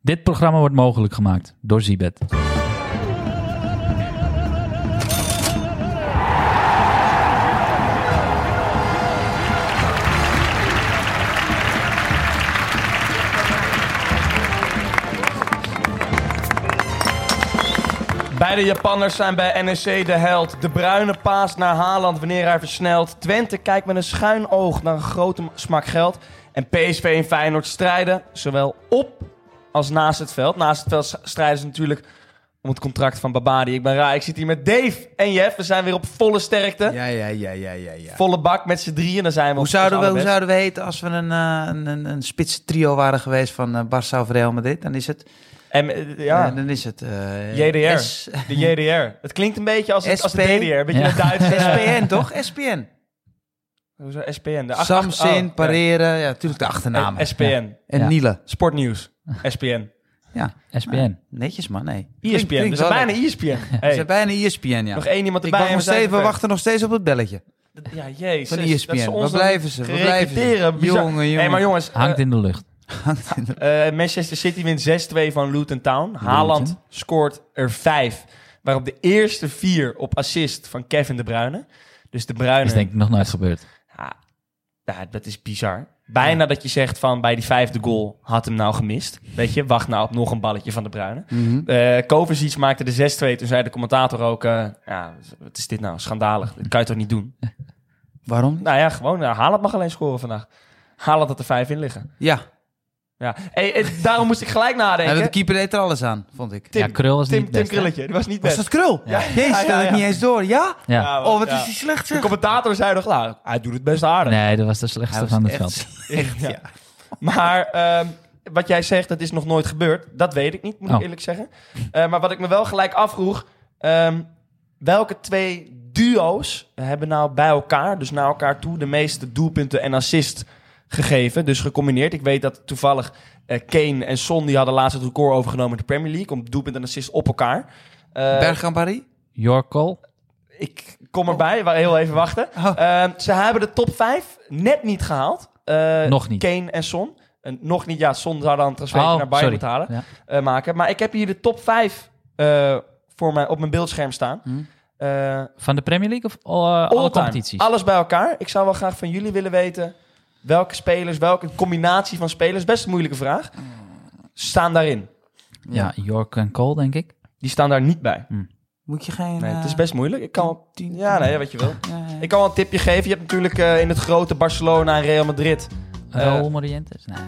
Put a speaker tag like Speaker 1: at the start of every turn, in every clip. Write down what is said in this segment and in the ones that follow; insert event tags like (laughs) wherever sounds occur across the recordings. Speaker 1: Dit programma wordt mogelijk gemaakt door Zibet.
Speaker 2: Beide Japanners zijn bij NEC de held. De bruine paas naar Haaland wanneer hij versnelt. Twente kijkt met een schuin oog naar een grote smak geld. En PSV en Feyenoord strijden zowel op als naast het veld. Naast het veld strijden ze natuurlijk om het contract van Babadi. Ik ben raar. Ik zit hier met Dave en Jeff. We zijn weer op volle sterkte.
Speaker 3: Ja, ja, ja, ja, ja. ja.
Speaker 2: Volle bak met z'n drieën. Dan zijn we
Speaker 3: Hoe
Speaker 2: op
Speaker 3: zouden, we,
Speaker 2: ons
Speaker 3: hoe
Speaker 2: allerbest.
Speaker 3: zouden we heten als we een, eh, een, een, een spits trio waren geweest van eh Barça of Real Madrid? Dan is het...
Speaker 2: En, eh, ja,
Speaker 3: eh, dan is het... eh,
Speaker 2: JDR.
Speaker 3: S-
Speaker 2: de JDR. Het klinkt een beetje als, het, als de
Speaker 3: SP.
Speaker 2: DDR. Een beetje
Speaker 1: Ja.
Speaker 2: een Duitse... eh,
Speaker 3: SPN, (laughs) toch? SPN.
Speaker 2: Hoezo SPN? De acht- acht- oh,
Speaker 3: Samsin,
Speaker 2: ja.
Speaker 3: Pareren. Ja, natuurlijk de achternamen.
Speaker 2: Eh, SPN.
Speaker 3: en
Speaker 1: Ja.
Speaker 3: Niele. (laughs)
Speaker 2: Sportnieuws. SPN.
Speaker 3: Ja,
Speaker 1: SPN.
Speaker 2: Eh,
Speaker 3: netjes man, nee.
Speaker 2: ESPN. We zijn bijna E
Speaker 3: (laughs)
Speaker 2: ESPN.
Speaker 3: We
Speaker 2: Hey.
Speaker 3: zijn bijna E ESPN, ja.
Speaker 2: Nog één iemand
Speaker 3: Ik
Speaker 2: erbij.
Speaker 3: wacht
Speaker 2: en
Speaker 3: nog
Speaker 2: we zijn
Speaker 3: steeds, we
Speaker 2: zover.
Speaker 3: wachten nog steeds op het belletje
Speaker 2: Ja, jezus.
Speaker 3: van E
Speaker 2: dat ze
Speaker 3: ESPN.
Speaker 2: ons
Speaker 3: Waar
Speaker 2: dan
Speaker 3: blijven ze? Waar blijven ze?
Speaker 2: Recruteren, bizar.
Speaker 3: Jongen,
Speaker 2: Hey,
Speaker 3: jongen.
Speaker 2: maar jongens. eh,
Speaker 1: Hangt in de lucht.
Speaker 2: eh, Manchester City wint 6-2 van Luton Town. Haaland scoort er vijf. Waarop de eerste vier op assist van Kevin De Bruyne. Dus De Bruyne...
Speaker 1: Is denk ik nog nooit gebeurd.
Speaker 2: Ja, ja, dat is bizar. Bijna dat je zegt van bij die vijfde goal had hem nou gemist. Weet je, wacht nou op nog een balletje van de Bruyne.
Speaker 3: Mhm.
Speaker 2: Eh Kovacic maakte de 6-2. Toen zei de commentator ook, eh, ja, wat is dit nou? Schandalig. Dat kan je toch niet doen?
Speaker 3: Waarom? niet?
Speaker 2: Nou ja, gewoon, nou, Haaland mag alleen scoren vandaag. Haaland had er vijf in liggen.
Speaker 3: Ja,
Speaker 2: Ja. Hey, eh, daarom moest ik gelijk
Speaker 3: Ja,
Speaker 2: nadenken.
Speaker 3: de keeper deed er alles aan, vond ik.
Speaker 2: Tim,
Speaker 1: ja, Krul was
Speaker 2: Tim,
Speaker 1: niet best.
Speaker 2: Tim Krilletje, die was niet
Speaker 3: Was
Speaker 2: best.
Speaker 3: dat krul?
Speaker 2: Ja.
Speaker 3: Jezus,
Speaker 2: Ja, ja,
Speaker 3: dat had ik
Speaker 2: ja.
Speaker 3: niet eens door. Ja?
Speaker 1: Ja.
Speaker 2: Ja,
Speaker 3: Oh, wat
Speaker 2: ja.
Speaker 3: is die slecht
Speaker 2: De
Speaker 3: zeg.
Speaker 2: commentator zei nog, nou, hij doet het best aardig.
Speaker 1: Nee, dat was de
Speaker 3: Hij
Speaker 1: slechtste
Speaker 3: was
Speaker 1: van het
Speaker 3: echt
Speaker 1: veld.
Speaker 3: slecht, ja. Eh,
Speaker 2: Maar ehm, wat jij zegt, dat is nog nooit gebeurd. Dat weet ik niet, moet ik
Speaker 1: Oh.
Speaker 2: eerlijk zeggen. Eh, maar wat ik me wel gelijk afvroeg... ehm, welke twee duo's hebben nou bij elkaar, dus naar elkaar toe... de meeste doelpunten en assist gegeven, dus gecombineerd? Ik weet dat toevallig eh, Kane en Son... die hadden laatst het record overgenomen in de Premier League... om doelpunt en assist op elkaar. Eh,
Speaker 3: Berg en Barry?
Speaker 1: Jorkol.
Speaker 2: ik kom erbij, maar heel even wachten.
Speaker 3: Oh.
Speaker 2: Ehm, ze hebben de top 5 net niet gehaald. Eh,
Speaker 1: Nog niet.
Speaker 2: Kane en Son. En nog niet, ja, Son zou dan transfer
Speaker 1: Oh,
Speaker 2: naar Bayern
Speaker 1: sorry.
Speaker 2: moeten halen,
Speaker 1: Ja.
Speaker 2: eh, maken. Maar ik heb hier de top 5 eh, voor mij, op mijn beeldscherm staan.
Speaker 3: Hm.
Speaker 2: Eh,
Speaker 1: Van de Premier League of eh, alle
Speaker 2: all-time.
Speaker 1: competities?
Speaker 2: Alles bij elkaar. Ik zou wel graag van jullie willen weten welke spelers, welke combinatie van spelers, best een moeilijke vraag, staan daarin.
Speaker 1: Ja, York en Cole, denk ik.
Speaker 2: Die staan daar niet bij.
Speaker 3: Moet je geen...
Speaker 2: Nee, het is
Speaker 3: eh,
Speaker 2: best moeilijk. Ik kan wel...
Speaker 3: tien-
Speaker 2: Ja, nee, wat je wil.
Speaker 3: Ja, ja.
Speaker 2: Ik kan wel een tipje geven. Je hebt natuurlijk eh, in het grote Barcelona en Real Madrid Eh,
Speaker 1: Raul Morientes? Nee.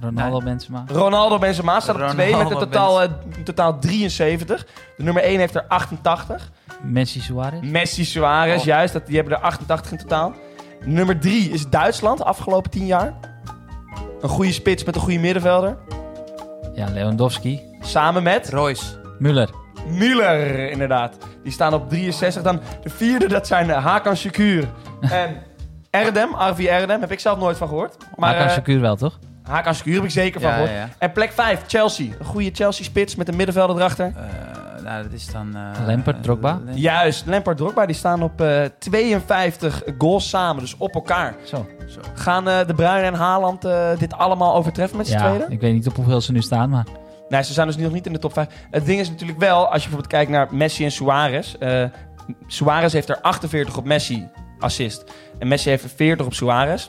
Speaker 1: Ronaldo Benzema?
Speaker 2: Ronaldo Benzema staat op
Speaker 3: Ronaldo
Speaker 2: 2 met een
Speaker 3: Benzema.
Speaker 2: totaal, eh, een totaal 73. De nummer 1 heeft er 88.
Speaker 1: Messi Suarez?
Speaker 2: Messi, Suarez,
Speaker 3: Oh.
Speaker 2: juist. Dat, die hebben er 88 in totaal. Nummer 3 is Duitsland, afgelopen 10 jaar. Een goede spits met een goede middenvelder.
Speaker 1: Ja, Lewandowski.
Speaker 2: Samen met
Speaker 3: Royce.
Speaker 1: Müller.
Speaker 2: Müller, inderdaad. Die staan op 63. Dan de vierde, dat zijn eh, Hakan Şükür
Speaker 3: (laughs)
Speaker 2: en Erdem. Arvi Erdem, heb ik zelf nooit van gehoord.
Speaker 1: Maar
Speaker 2: eh,
Speaker 1: Hakan Şükür wel, toch?
Speaker 2: Hakan Şükür heb ik zeker van
Speaker 3: Ja,
Speaker 2: gehoord.
Speaker 3: ja.
Speaker 2: En plek 5, Chelsea. Een goede Chelsea-spits met een middenvelder erachter.
Speaker 3: Eh, nou, dat is dan... eh,
Speaker 1: Lampard, Drogba?
Speaker 3: Lam-
Speaker 2: Juist, Lampard Drogba die staan op eh, 52 goals samen, dus op elkaar.
Speaker 1: Zo.
Speaker 2: Gaan eh, De Bruyne en Haaland eh, dit allemaal overtreffen met z'n
Speaker 1: Ja,
Speaker 2: tweeën?
Speaker 1: ik weet niet op hoeveel ze nu staan, maar...
Speaker 2: Nee, ze zijn dus nog niet in de top 5. Het ding is natuurlijk wel, als je bijvoorbeeld kijkt naar Messi en Suarez. eh, Suarez heeft er 48 op Messi assist. En Messi heeft er 40 op Suarez.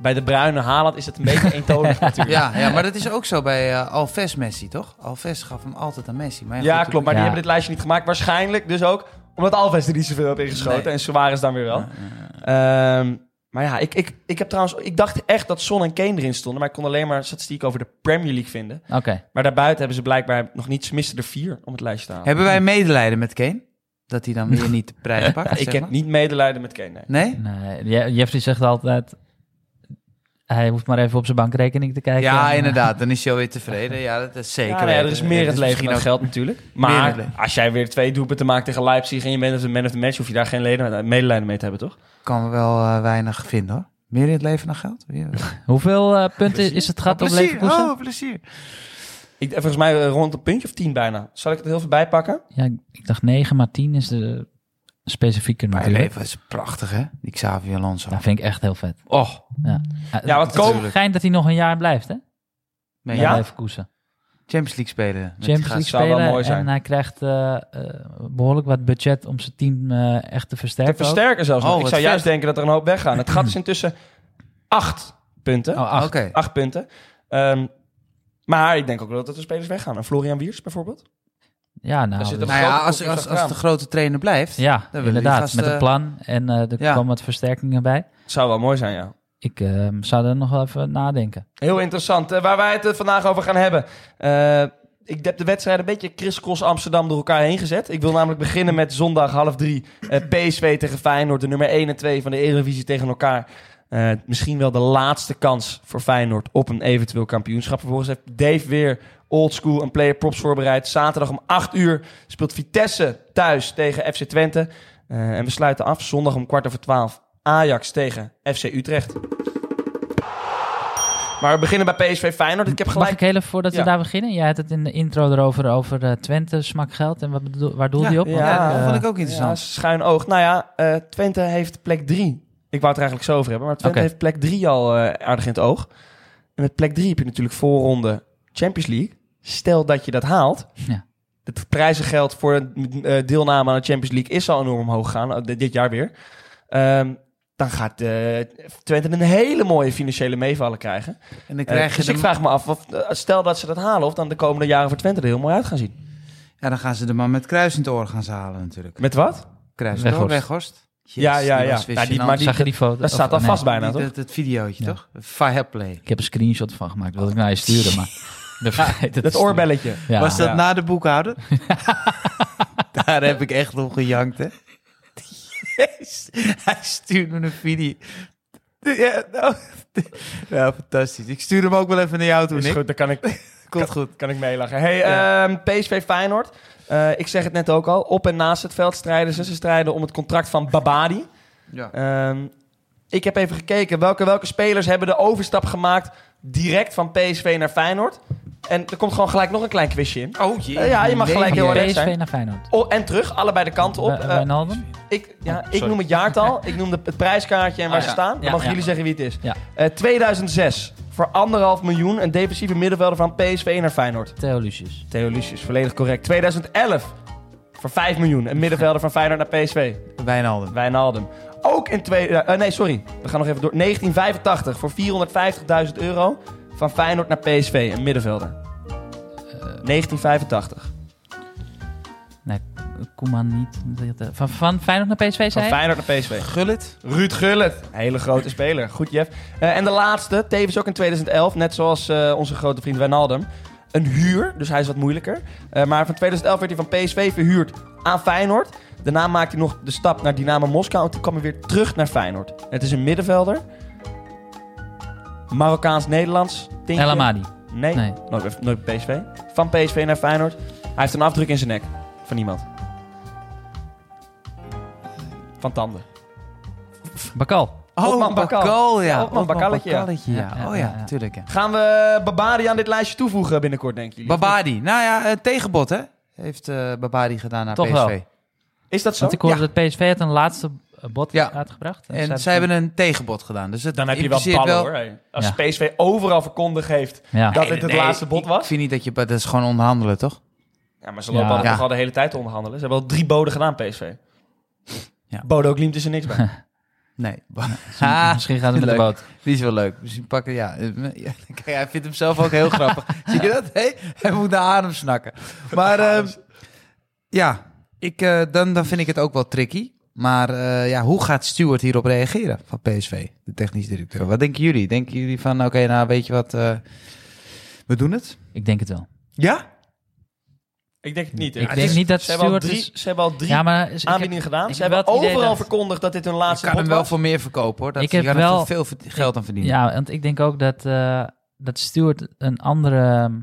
Speaker 2: Bij De Bruyne en Haaland is het een beetje eentonig natuurlijk.
Speaker 3: Ja, ja, maar dat is ook zo bij eh, Alves Messi, toch? Alves gaf hem altijd aan Messi. Maar ja,
Speaker 2: Ja,
Speaker 3: goed,
Speaker 2: klopt. Maar die
Speaker 1: Ja.
Speaker 2: hebben dit lijstje niet gemaakt. Waarschijnlijk dus ook omdat Alves er niet zoveel heeft ingeschoten.
Speaker 3: Nee.
Speaker 2: En Suarez dan weer wel. Ehm, maar ja, ik, ik, ik heb trouwens... Ik dacht echt dat Son en Kane erin stonden. Maar ik kon alleen maar statistiek over de Premier League vinden.
Speaker 1: Oké.
Speaker 2: Maar daarbuiten hebben ze blijkbaar nog niet... Ze misten er vier om het lijstje te halen.
Speaker 3: Hebben wij medelijden met Kane? Dat hij dan weer niet de prijs (laughs) pakt,
Speaker 2: ik
Speaker 3: zeg
Speaker 2: heb
Speaker 3: maar?
Speaker 2: niet medelijden met Kane, nee.
Speaker 3: Nee?
Speaker 1: Nee, Je- Jeffrey zegt altijd... Hij hoeft maar even op zijn bankrekening te kijken.
Speaker 3: Ja,
Speaker 1: En, eh,
Speaker 3: inderdaad. Dan is hij alweer tevreden. Ja, dat is zeker.
Speaker 2: Ja, nee, er
Speaker 3: weten.
Speaker 2: is meer
Speaker 3: Dit
Speaker 2: het leven
Speaker 3: misschien
Speaker 2: dan
Speaker 3: ook-
Speaker 2: geld natuurlijk.
Speaker 3: Meer het
Speaker 2: Maar
Speaker 3: leven.
Speaker 2: als jij weer twee doelpunten maakt tegen Leipzig... en je bent een man of the match... hoef je daar geen leden- medelijden mee te hebben, toch?
Speaker 3: Kan wel eh, weinig vinden, hoor. Meer in het leven dan geld? Weer-
Speaker 1: Hoeveel eh, punten is het gaat op
Speaker 3: plezier,
Speaker 1: Leverkusen?
Speaker 3: oh, plezier.
Speaker 2: Ik, volgens mij eh, rond een puntje of tien bijna. Zal ik het heel veel bijpakken?
Speaker 1: Ja, ik- ik dacht 9, maar 10 is de specifieker
Speaker 3: Mijn
Speaker 1: natuurlijk.
Speaker 3: leven is prachtig, hè? Die Xavi Alonso.
Speaker 1: Dat vind ik echt heel vet.
Speaker 2: Och,
Speaker 1: Ja, Eh,
Speaker 2: Ja, wat
Speaker 1: Het is
Speaker 2: komen-
Speaker 1: schijnt dat hij nog een jaar blijft, hè?
Speaker 3: Nee,
Speaker 2: Ja?
Speaker 1: Bij Leverkusen.
Speaker 3: Champions League spelen. met die
Speaker 1: Champions
Speaker 3: gasten.
Speaker 1: League
Speaker 2: Zou wel
Speaker 1: spelen.
Speaker 2: mooi zijn.
Speaker 1: En hij krijgt eh, eh, behoorlijk wat budget om zijn team eh, echt te
Speaker 2: Te
Speaker 1: versterken. ook.
Speaker 2: versterken zelfs. nog.
Speaker 3: Oh,
Speaker 2: ik
Speaker 3: wat
Speaker 2: zou juist
Speaker 3: vet.
Speaker 2: denken dat er een hoop weggaan. Het
Speaker 3: (laughs)
Speaker 2: gat is intussen acht punten.
Speaker 1: Oh, acht.
Speaker 3: Oké.
Speaker 2: Acht punten. Ehm, maar ik denk ook wel dat er spelers weggaan. En Florian Wiers bijvoorbeeld.
Speaker 1: Ja, nou,
Speaker 2: Daar zit
Speaker 1: dat-
Speaker 2: een
Speaker 3: Nou ja,
Speaker 2: grote
Speaker 3: als,
Speaker 2: concurrent
Speaker 3: als, als
Speaker 2: achteraan.
Speaker 3: de grote trainer blijft.
Speaker 1: ja
Speaker 3: willen die
Speaker 1: inderdaad.
Speaker 3: gasten-
Speaker 1: Met een plan en eh, er
Speaker 3: Ja.
Speaker 1: kwam wat versterkingen bij.
Speaker 2: Zou wel mooi zijn, ja.
Speaker 1: Ik eh, zou er nog wel even nadenken.
Speaker 2: Heel interessant. Eh, waar wij het eh, vandaag over gaan hebben. Eh, ik heb de wedstrijd een beetje crisscross Amsterdam door elkaar heen gezet. Ik wil namelijk beginnen met zondag half drie. eh, PSV tegen Feyenoord. De nummer 1 en 2 van de Eredivisie tegen elkaar. Eh, misschien wel de laatste kans voor Feyenoord op een eventueel kampioenschap. Vervolgens heeft Dave weer oldschool een player props voorbereid. Zaterdag om 8 uur speelt Vitesse thuis tegen FC Twente. Eh, en we sluiten af zondag om kwart over twaalf. Ajax tegen FC Utrecht. Maar we beginnen bij PSV Feyenoord. Dus Ik heb
Speaker 1: Mag
Speaker 2: gelijk
Speaker 1: ik heel even voordat
Speaker 2: Ja.
Speaker 1: we daar beginnen? Jij had het in de intro erover over eh, Twente, smak geld. En wat bedoel, waar doelde
Speaker 3: Ja,
Speaker 1: je op? Want
Speaker 2: ja,
Speaker 1: ik,
Speaker 3: dat
Speaker 1: eh,
Speaker 3: vond ik ook
Speaker 2: Ja,
Speaker 3: interessant.
Speaker 2: schuin oog. Nou ja, eh, Twente heeft plek 3. Ik wou het er eigenlijk zo over hebben, maar Twente
Speaker 1: Oké.
Speaker 2: heeft plek 3 al eh, aardig in het oog. En met plek 3 heb je natuurlijk voorronde Champions League. Stel dat je dat haalt.
Speaker 1: Ja.
Speaker 2: Het prijzengeld voor een eh, deelname aan de Champions League is al enorm hoog gegaan, eh, dit- dit jaar weer. Ehm, dan gaat eh, Twente een hele mooie financiële meevallen krijgen.
Speaker 3: En dan
Speaker 2: Eh,
Speaker 3: krijg je
Speaker 2: dus
Speaker 3: de,
Speaker 2: ik vraag me af, of, eh, stel dat ze dat halen, of dan de komende jaren voor Twente er heel mooi uit gaan zien.
Speaker 3: ja, dan gaan ze de man met kruisend oor gaan ze halen natuurlijk.
Speaker 2: Met wat?
Speaker 3: Kruisend oor,
Speaker 1: Weghorst.
Speaker 3: Weghorst.
Speaker 2: Ja, ja, ja. Nou, die- maar die-
Speaker 1: zag je die foto?
Speaker 2: Dat staat
Speaker 1: Of,
Speaker 2: al
Speaker 1: nee,
Speaker 2: vast bijna, toch?
Speaker 3: dat, dat videootje,
Speaker 1: Ja.
Speaker 3: toch? Fireplay.
Speaker 1: Ik heb een screenshot van gemaakt. Wilde ik naar je sturen, (laughs) maar... ik vergeet het
Speaker 2: Dat
Speaker 1: te sturen.
Speaker 2: oorbelletje.
Speaker 1: Ja.
Speaker 3: Was dat
Speaker 2: Ja.
Speaker 3: na de boekhouder? (laughs) Daar heb ik echt op gejankt, hè? Jezus, Hij stuurt me een video. Ja, nou, ja, fantastisch. Ik stuur hem ook wel even naar jou toe,
Speaker 2: Is
Speaker 3: Nick.
Speaker 2: goed, dan kan ik,
Speaker 3: Komt goed.
Speaker 2: kan ik meelachen. Hey,
Speaker 3: Ja.
Speaker 2: ehm, PSV Feyenoord. Eh, ik zeg het net ook al. Op en naast het veld strijden ze. Ze strijden om het contract van Babadi.
Speaker 3: Ja.
Speaker 2: Ehm, ik heb even gekeken welke, welke spelers hebben de overstap gemaakt direct van PSV naar Feyenoord. En er komt gewoon gelijk nog een klein quizje in.
Speaker 3: Oh jee.
Speaker 2: Eh, ja, je mag gelijk
Speaker 1: Van
Speaker 2: heel erg
Speaker 1: PSV
Speaker 2: zijn.
Speaker 1: naar Feyenoord.
Speaker 2: Oh, en terug, allebei de kanten op.
Speaker 1: Op,
Speaker 2: Eh,
Speaker 1: Wijnaldum?
Speaker 2: ik, ja, ik
Speaker 3: sorry.
Speaker 2: noem het jaartal, ik noem de, het prijskaartje en waar
Speaker 3: Ah,
Speaker 2: ze
Speaker 3: ja.
Speaker 2: staan. Dan
Speaker 1: Oh, Ja,
Speaker 2: mogen
Speaker 1: ja.
Speaker 2: jullie zeggen wie het is.
Speaker 1: Ja.
Speaker 2: Eh, 2006, voor anderhalf miljoen, een defensieve middenvelder van PSV naar Feyenoord.
Speaker 1: Theo Lucius.
Speaker 2: Theo Lucius, volledig correct. 2011, voor 5 miljoen. Een middenvelder van Feyenoord naar PSV.
Speaker 3: Wijnaldum.
Speaker 2: Wijnaldum. Ook in twee... eh, eh, nee, sorry. We gaan nog even door. 1985, voor 450.000 euro. Van Feyenoord naar PSV, een middenvelder. 1985.
Speaker 1: Koeman niet. Van, van Feyenoord naar PSV
Speaker 2: Van
Speaker 1: zei je?
Speaker 2: Feyenoord naar PSV.
Speaker 3: Gullit.
Speaker 2: Ruud Gullit. Hele grote speler. Goed, Jeff. Eh, en de laatste, tevens ook in 2011. Net zoals eh, onze grote vriend Wijnaldum. Een huur, dus hij is wat moeilijker. Eh, maar van 2011 werd hij van PSV verhuurd aan Feyenoord. Daarna maakte hij nog de stap naar Dynamo Moskou. En toen kwam hij weer terug naar Feyenoord. Het is een middenvelder. Marokkaans-Nederlands. denk je?
Speaker 1: El Amadi.
Speaker 2: Nee,
Speaker 1: Nee.
Speaker 2: Nooit, bij- nooit bij PSV. Van PSV naar Feyenoord. Hij heeft een afdruk in zijn nek. Van iemand. Van tanden.
Speaker 1: Bakal.
Speaker 2: Otman Bakal.
Speaker 3: ja.
Speaker 2: Otman Bakalletje, ja.
Speaker 3: Bakalletje, ja.
Speaker 1: Ja, ja,
Speaker 3: Oh ja,
Speaker 1: ja, ja.
Speaker 3: natuurlijk, ja.
Speaker 2: Gaan we Babadi aan dit lijstje toevoegen binnenkort, denken jullie?
Speaker 3: Babadi. Nou ja, eh, tegenbod, hè? Heeft eh, Babadi gedaan naar
Speaker 1: Toch
Speaker 3: PSV.
Speaker 1: wel.
Speaker 2: Is dat zo?
Speaker 1: Want ik hoorde dat PSV had een laatste bot
Speaker 3: Ja.
Speaker 1: uitgebracht.
Speaker 3: En zij hebben een tegenbod gedaan. Dus het
Speaker 2: Dan heb je wel
Speaker 3: impliceert
Speaker 2: ballen, hoor. hey. Als
Speaker 1: Ja.
Speaker 2: PSV overal verkondigd heeft
Speaker 1: Ja.
Speaker 2: dat dit het laatste bot
Speaker 3: Ik
Speaker 2: was.
Speaker 3: vind niet dat je... Dat is gewoon onderhandelen, toch?
Speaker 2: Ja, maar ze lopen
Speaker 1: Ja.
Speaker 2: altijd
Speaker 3: Ja.
Speaker 2: nog al de hele tijd te onderhandelen. Ze hebben al drie boden gedaan, PSV.
Speaker 3: Ja.
Speaker 2: Bodo Glimt is er
Speaker 1: (laughs)
Speaker 2: niks bij.
Speaker 3: Nee. (laughs)
Speaker 1: Ah, Misschien gaat het met de
Speaker 3: leuk.
Speaker 1: boot.
Speaker 3: Die is wel leuk. Misschien pakken, ja. eh, ja, (laughs) Kijk, hij vindt hem zelf ook heel grappig.
Speaker 1: (laughs)
Speaker 3: Zie je dat? Hé, hij moet naar adem snakken. Maar ehm,
Speaker 1: dus-
Speaker 3: ja, ik, eh, dan, dan vind ik het ook wel tricky. Maar eh, ja, hoe gaat Stuart hierop reageren van PSV, de technisch directeur? Wat denken jullie? Denken jullie van, oké, nou weet je wat, eh, we doen het?
Speaker 1: Ik denk het wel.
Speaker 3: Ja?
Speaker 2: Ik denk het niet. hè.
Speaker 1: Ik
Speaker 2: Het
Speaker 1: denk
Speaker 2: is-
Speaker 1: niet dat
Speaker 2: ze hebben al
Speaker 1: Stuart
Speaker 2: drie,
Speaker 1: is-
Speaker 2: Ze hebben al drie
Speaker 1: Ja, maar is- ik heb-
Speaker 2: aanbiedingen gedaan.
Speaker 1: ik
Speaker 2: Ze
Speaker 1: heb
Speaker 2: hebben
Speaker 1: wel het idee
Speaker 2: overal
Speaker 1: dat-
Speaker 2: verkondigd dat dit hun
Speaker 3: Ik
Speaker 2: laatste
Speaker 3: kan
Speaker 2: bot
Speaker 3: hem wel
Speaker 2: was.
Speaker 3: voor meer verkopen, hoor. Dat
Speaker 1: Ik heb
Speaker 3: je kan
Speaker 1: wel-
Speaker 3: er veel verd- geld aan verdienen.
Speaker 1: Ja, want ik denk ook dat, eh, dat Stuart een andere ehm,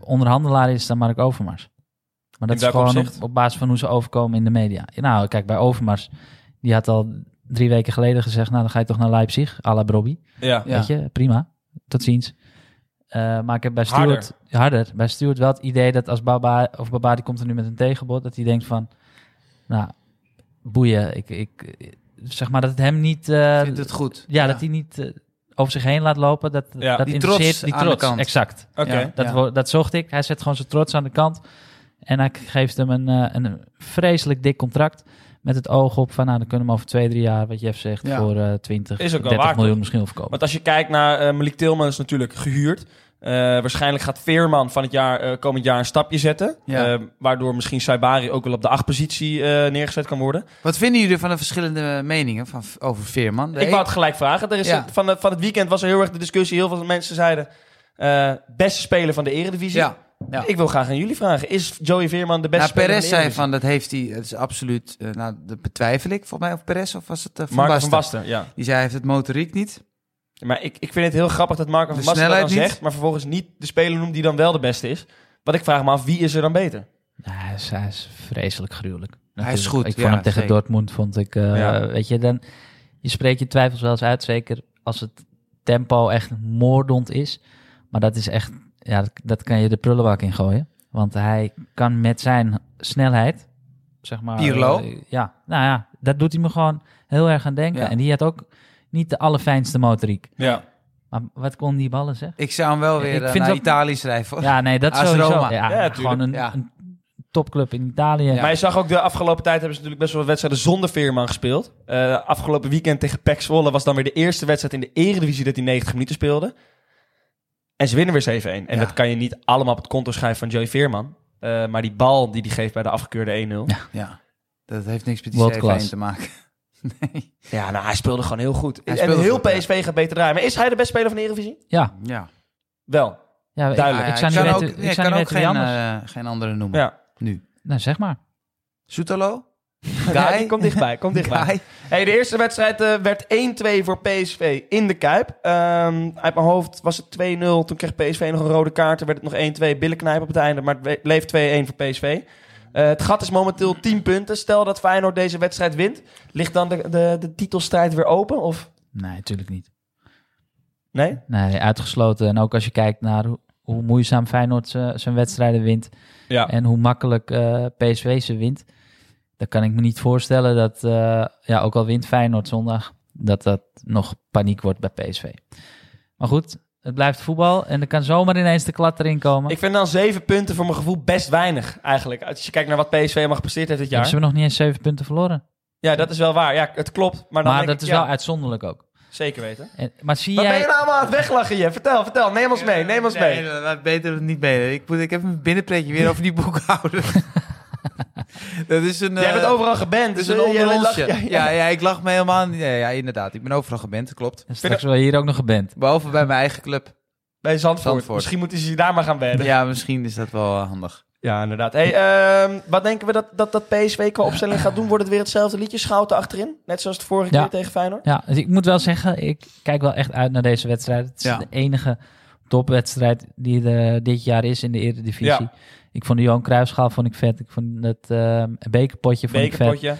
Speaker 1: onderhandelaar is dan Mark Overmars. Maar dat
Speaker 2: In
Speaker 1: is
Speaker 2: welk
Speaker 1: gewoon op,
Speaker 2: opzicht?
Speaker 1: op basis van hoe ze overkomen in de media. Ja, Nou, kijk, bij Overmars, die had al drie weken geleden gezegd... nou, dan ga je toch naar Leipzig, à la Brobby.
Speaker 2: Ja.
Speaker 3: Ja.
Speaker 1: Weet je, prima. Tot ziens. Eh, maar ik heb bij
Speaker 2: Harder.
Speaker 1: Stuart, harder. bij Stuart wel het idee dat als Baba, of Baba die komt er nu met een tegenbod, dat hij denkt van, nou, boeien, ik, ik, zeg maar dat het hem niet, eh,
Speaker 3: vindt het goed.
Speaker 1: ja, dat hij niet eh, over zich heen laat lopen, dat,
Speaker 2: Ja.
Speaker 1: dat
Speaker 3: Die
Speaker 1: interesseert
Speaker 3: trots
Speaker 1: die
Speaker 3: aan de
Speaker 1: trots.
Speaker 3: kant.
Speaker 1: Exact.
Speaker 2: Oké.
Speaker 3: Ja.
Speaker 1: Dat, wo- dat zocht ik. Hij zet gewoon zijn trots aan de kant. En hij geeft hem een, eh, een vreselijk dik contract. Met het oog op van, nou, dan kunnen we hem over twee, drie jaar, wat Jeff zegt,
Speaker 3: Ja.
Speaker 1: voor eh 20,
Speaker 2: Is ook wel
Speaker 1: 30
Speaker 2: waard,
Speaker 1: miljoen
Speaker 2: toch?
Speaker 1: misschien wel verkopen.
Speaker 2: Want als je kijkt naar eh Malik Tilman is natuurlijk gehuurd. Eh, waarschijnlijk gaat Veerman van het jaar, eh, komend jaar een stapje zetten.
Speaker 3: Ja.
Speaker 2: Eh, waardoor misschien Saibari ook wel op de achtpositie eh neergezet kan worden.
Speaker 3: Wat vinden jullie van de verschillende meningen van, over Veerman? De
Speaker 2: Ik
Speaker 3: een-
Speaker 2: wou het gelijk vragen. Er is
Speaker 3: Ja.
Speaker 2: een- van, de- van het weekend was er heel erg de discussie. Heel veel mensen zeiden, eh, beste speler van de eredivisie.
Speaker 3: Ja. ja.
Speaker 2: Ik wil graag aan jullie vragen. Is Joey Veerman de beste
Speaker 3: Nou,
Speaker 2: speler dus.
Speaker 3: Perez
Speaker 2: van de
Speaker 3: zei
Speaker 2: Eredivisie?
Speaker 3: van, dat heeft hij, het is absoluut, eh, nou, dat betwijfel ik, volgens mij, of Perez, of was het eh, Van
Speaker 2: Marco
Speaker 3: Basten?
Speaker 2: van Basten, ja.
Speaker 3: Die zei, hij heeft het motoriek niet.
Speaker 2: Maar ik, ik vind het heel grappig dat Marco
Speaker 3: De
Speaker 2: van Basten dat dan
Speaker 3: snelheid niet?
Speaker 2: zegt... maar vervolgens niet de speler noemt die dan wel de beste is. Wat ik vraag me af, wie is er dan beter?
Speaker 1: Nou, hij, is, hij is vreselijk gruwelijk.
Speaker 3: is
Speaker 1: Natuurlijk.
Speaker 3: goed,
Speaker 1: Ik vond
Speaker 3: ja,
Speaker 1: hem tegen
Speaker 3: zeker.
Speaker 1: Dortmund, vond ik. eh,
Speaker 2: Ja.
Speaker 1: Weet je, dan, je spreekt je twijfels wel eens uit. Zeker als het tempo echt moordend is. Maar dat is echt, ja, dat, dat kan je de prullenbak in gooien. Want hij kan met zijn snelheid, zeg maar.
Speaker 3: Pirlo?
Speaker 1: eh, ja, nou ja, dat doet hij me gewoon heel erg aan denken.
Speaker 3: Ja.
Speaker 1: En die had ook niet de allerfijnste motoriek.
Speaker 2: Ja.
Speaker 1: Maar wat kon die ballen, zeg?
Speaker 3: Ik zou hem wel
Speaker 1: Ik
Speaker 3: weer eh,
Speaker 1: vind
Speaker 3: naar
Speaker 1: dat-
Speaker 3: Italië schrijven. hoor.
Speaker 1: Ja, nee, dat
Speaker 3: AS
Speaker 1: sowieso.
Speaker 3: Roma.
Speaker 1: Ja,
Speaker 2: Ja,
Speaker 1: gewoon een,
Speaker 3: ja.
Speaker 1: een topclub in Italië.
Speaker 2: Maar je zag ook de afgelopen tijd hebben ze natuurlijk best wel wat wedstrijden zonder Veerman gespeeld. Eh, afgelopen weekend tegen PEC Zwolle was dan weer de eerste wedstrijd in de Eredivisie dat hij 90 minuten speelde. En ze winnen weer 7-1. En
Speaker 3: Ja.
Speaker 2: dat kan je niet allemaal op het konto schrijven van Joey Veerman. Eh, maar die bal die hij geeft bij de afgekeurde 1-0. Ja.
Speaker 3: Ja. Dat heeft niks met die
Speaker 1: World
Speaker 3: 7
Speaker 1: class.
Speaker 3: te maken. (laughs) nee.
Speaker 2: nou hij speelde gewoon heel goed.
Speaker 3: Hij
Speaker 2: en
Speaker 3: speelde
Speaker 2: heel
Speaker 3: goed, ja.
Speaker 2: PSV gaat beter draaien. Maar is hij de beste speler van de Eredivisie?
Speaker 1: ja.
Speaker 3: Ja. (laughs)
Speaker 2: Wel.
Speaker 1: Ja,
Speaker 2: Duidelijk.
Speaker 1: Ik, ik
Speaker 3: Ah, ja,
Speaker 1: zou niet
Speaker 3: kan
Speaker 1: weten,
Speaker 3: ook,
Speaker 1: ik
Speaker 3: ik
Speaker 1: zou
Speaker 3: kan
Speaker 1: niet
Speaker 3: ook
Speaker 1: weten wie
Speaker 3: geen,
Speaker 1: anders.
Speaker 3: eh, geen andere noemen.
Speaker 2: Ja.
Speaker 3: Nu.
Speaker 1: nou, zeg maar.
Speaker 3: Soetalo?
Speaker 2: Ja, die komt dichtbij. Komt dichtbij.
Speaker 3: Guy?
Speaker 2: Hey, de eerste wedstrijd eh, werd 1-2 voor PSV in de Kuip. Ehm, uit mijn hoofd was het 2-0. Toen kreeg PSV nog een rode kaart. Toen werd het nog 1-2. Billenknijp op het einde. Maar het we- bleef 2-1 voor PSV. Eh, het gat is momenteel 10 punten. Stel dat Feyenoord deze wedstrijd wint. Ligt dan de, de, de titelstrijd weer open? Of
Speaker 1: Nee, natuurlijk niet.
Speaker 2: nee?
Speaker 1: Nee, uitgesloten. En ook als je kijkt naar hoe, hoe moeizaam Feyenoord eh, zijn wedstrijden wint.
Speaker 2: Ja.
Speaker 1: En hoe makkelijk eh, PSV ze wint. Dan kan ik me niet voorstellen dat, eh, ja, ook al wint Feyenoord zondag, dat dat nog paniek wordt bij PSV. Maar goed, het blijft voetbal. En er kan zomaar ineens de klad erin komen.
Speaker 2: Ik vind dan 7 punten voor mijn gevoel best weinig eigenlijk. Als je kijkt naar wat PSV mag gepresteerd heeft dit
Speaker 1: Hebben Ze hebben
Speaker 2: jaar.
Speaker 1: nog niet eens zeven punten verloren.
Speaker 2: Ja, dat is wel waar. Ja, het klopt. Maar, dan
Speaker 1: maar
Speaker 2: denk
Speaker 1: dat
Speaker 2: ik,
Speaker 1: is
Speaker 2: ja,
Speaker 1: wel uitzonderlijk ook.
Speaker 2: Zeker weten.
Speaker 1: En, maar zie
Speaker 2: Wat ben
Speaker 1: jij...
Speaker 2: je nou allemaal aan het weglachen, je? Vertel, vertel. Neem ons mee, neem ons mee.
Speaker 3: Nee, dat- dat- beter het niet mee. Ik, moet, ik heb een binnenpretje weer over die boekhouder. (laughs) dat is een...
Speaker 2: Jij bent
Speaker 3: eh,
Speaker 2: overal geband.
Speaker 3: dat is
Speaker 2: Dus
Speaker 3: een
Speaker 2: eh, jij
Speaker 3: onder
Speaker 2: lacht-
Speaker 3: onsje.
Speaker 2: (laughs) ja, ja.
Speaker 3: Ja, ja. ik lach me helemaal niet. Ja, ja, inderdaad. Ik ben overal gebend, dat klopt.
Speaker 1: En Straks wel hier ook nog geband.
Speaker 3: Behalve bij mijn eigen club.
Speaker 2: Bij Zandvoort.
Speaker 3: Zandvoort.
Speaker 2: Misschien moeten ze je daar maar gaan wedden. Ja,
Speaker 3: Ja, misschien is dat wel eh, handig.
Speaker 2: inderdaad. Hey, ehm, wat denken we dat, dat, dat PSV qua opstelling gaat doen? Wordt het weer hetzelfde liedje? Schouten achterin? Net zoals de vorige
Speaker 1: Ja.
Speaker 2: keer tegen Feyenoord?
Speaker 1: Ja, dus ik moet wel zeggen, ik kijk wel echt uit naar deze wedstrijd. Het is
Speaker 3: Ja.
Speaker 1: de enige topwedstrijd die er eh, dit jaar is in de Eredivisie.
Speaker 2: Ja.
Speaker 1: Ik vond de Johan Cruijffschaal vond ik vet. Ik vond het ehm, bekerpotje vond ik vet.
Speaker 2: Bekerpotje.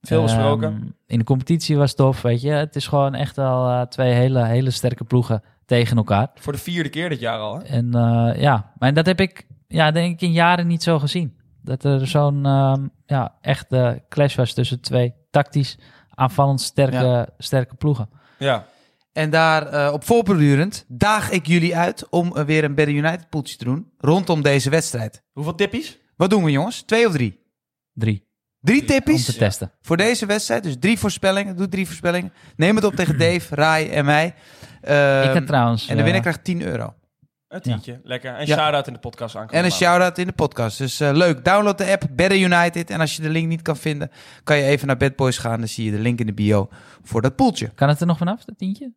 Speaker 2: Veel besproken.
Speaker 1: Ehm, in de competitie was het tof, weet je. Het is gewoon echt wel eh, twee hele, hele sterke ploegen tegen elkaar.
Speaker 2: Voor de vierde keer dit jaar al. Hè?
Speaker 1: En eh, ja, maar dat heb ik ja, denk ik in jaren niet zo gezien. Dat er zo'n ehm, ja, echte clash was tussen twee tactisch aanvallend sterke, sterke ploegen.
Speaker 2: Ja.
Speaker 3: En daar eh, op voorbedurend daag ik jullie uit om eh, weer een Barry United poeltje te doen rondom deze wedstrijd.
Speaker 2: Hoeveel tippies?
Speaker 3: Wat doen we jongens? Twee of drie?
Speaker 1: Drie,
Speaker 3: Drie
Speaker 1: om te
Speaker 3: tippies
Speaker 1: testen.
Speaker 3: voor deze wedstrijd. Dus drie voorspellingen. Doe drie voorspellingen. Neem het op tegen Dave, Rai en mij. Ehm,
Speaker 1: ik heb trouwens.
Speaker 3: en de winnaar
Speaker 1: eh,
Speaker 3: krijgt 10 euro.
Speaker 2: Een tientje. Lekker. En
Speaker 3: Ja.
Speaker 2: shout-out in de podcast aankomen.
Speaker 3: En een shout-out in de podcast. Dus eh, leuk. Download de app Better United. En als je de link niet kan vinden, kan je even naar Bad Boys gaan. Dan zie je de link in de bio voor dat poeltje.
Speaker 1: Kan het er nog vanaf, dat tientje?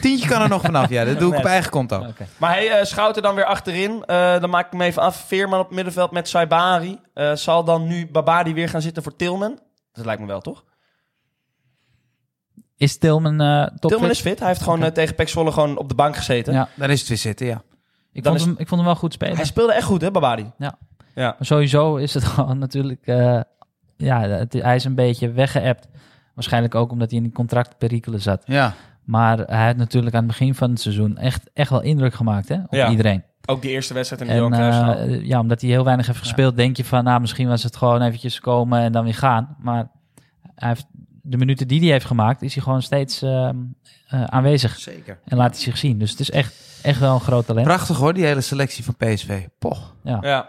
Speaker 3: Tientje kan er nog vanaf. Ja, dat doe ik op eigen konto.
Speaker 1: Oké.
Speaker 2: Maar hey, eh, Schouten dan weer achterin. Eh, dan maak ik hem even af. Veerman op het middenveld met Saibari. Eh, zal dan nu Babadi weer gaan zitten voor Tilman? Dat lijkt me wel, toch?
Speaker 1: Is Tilman eh top?
Speaker 2: Tilman is fit. Hij heeft gewoon
Speaker 1: Oké.
Speaker 2: eh, tegen Pek Zwolle gewoon op de bank gezeten.
Speaker 1: Ja.
Speaker 3: Dan is het weer zitten, ja.
Speaker 1: Ik
Speaker 2: Dan
Speaker 1: vond,
Speaker 2: is-
Speaker 1: hem, ik vond hem wel goed spelen.
Speaker 2: Hij speelde echt goed, hè, Babadi?
Speaker 1: Maar sowieso is het (laughs) gewoon natuurlijk... eh, ja, het, hij is een beetje weggeëpt. Waarschijnlijk ook omdat hij in die contractperikelen zat.
Speaker 3: Ja,
Speaker 1: Maar hij heeft natuurlijk aan het begin van het seizoen echt, echt wel indruk gemaakt hè, op
Speaker 2: Ja.
Speaker 1: iedereen.
Speaker 2: Ook de eerste wedstrijd in de
Speaker 1: En
Speaker 2: Johan Cruijffschaal.
Speaker 1: eh, ja, omdat hij heel weinig heeft gespeeld, denk je van nou, misschien was het gewoon eventjes komen en dan weer gaan. Maar hij heeft de minuten die hij heeft gemaakt, is hij gewoon steeds ehm, eh, aanwezig.
Speaker 3: Zeker.
Speaker 1: En laat hij zich zien. Dus het is echt, echt wel een groot talent.
Speaker 3: Prachtig hoor, die hele selectie van PSV. Poch.
Speaker 2: Ja,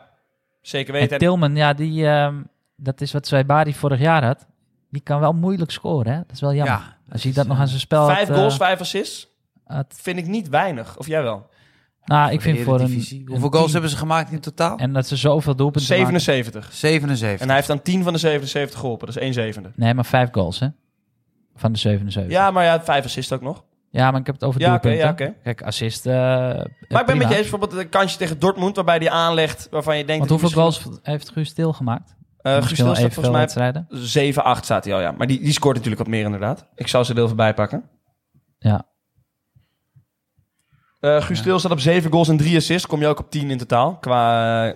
Speaker 2: zeker
Speaker 1: En
Speaker 2: weten.
Speaker 1: Tilman, ja, die, ehm, dat is wat Zwaibari vorig jaar had. Die kan wel moeilijk scoren, hè? Dat is wel jammer.
Speaker 3: Ja.
Speaker 1: Als hij dat nog aan zijn spel
Speaker 2: Vijf
Speaker 1: had... eh,
Speaker 2: goals, vijf assists.
Speaker 1: had-
Speaker 2: Vind ik niet weinig. Of jij wel?
Speaker 1: nou, ik vind voor een, een
Speaker 3: Hoeveel goals
Speaker 1: team-
Speaker 3: hebben ze gemaakt in totaal?
Speaker 1: En dat ze zoveel doelpunten maken.
Speaker 2: 77.
Speaker 3: 77.
Speaker 2: En hij heeft aan 10 van de 77 geholpen. Dat is 1 zevende.
Speaker 1: Nee, maar vijf goals, hè? Van de 77.
Speaker 2: Ja, maar ja, vijf assists ook nog.
Speaker 1: Ja, maar ik heb het over
Speaker 2: Ja, oké,
Speaker 1: doelpunten.
Speaker 2: ja, oké.
Speaker 1: Kijk, assist... eh,
Speaker 2: Maar ik ben met je eens, bijvoorbeeld een kansje tegen Dortmund, waarbij die aanlegt, waarvan je denkt...
Speaker 1: Want hoeveel goals heeft Guus Til gemaakt?
Speaker 2: goals?
Speaker 1: Misschien wel
Speaker 2: Eh, staat
Speaker 1: evenveel
Speaker 2: volgens mij
Speaker 1: wedstrijden.
Speaker 2: 7-8 staat hij al, ja. Maar die, die scoort natuurlijk wat meer inderdaad. Ik zou ze er heel veel bij pakken.
Speaker 1: Ja.
Speaker 2: Eh Guus Til staat op 7 goals en 3 assists. Kom je ook op 10 in totaal. Qua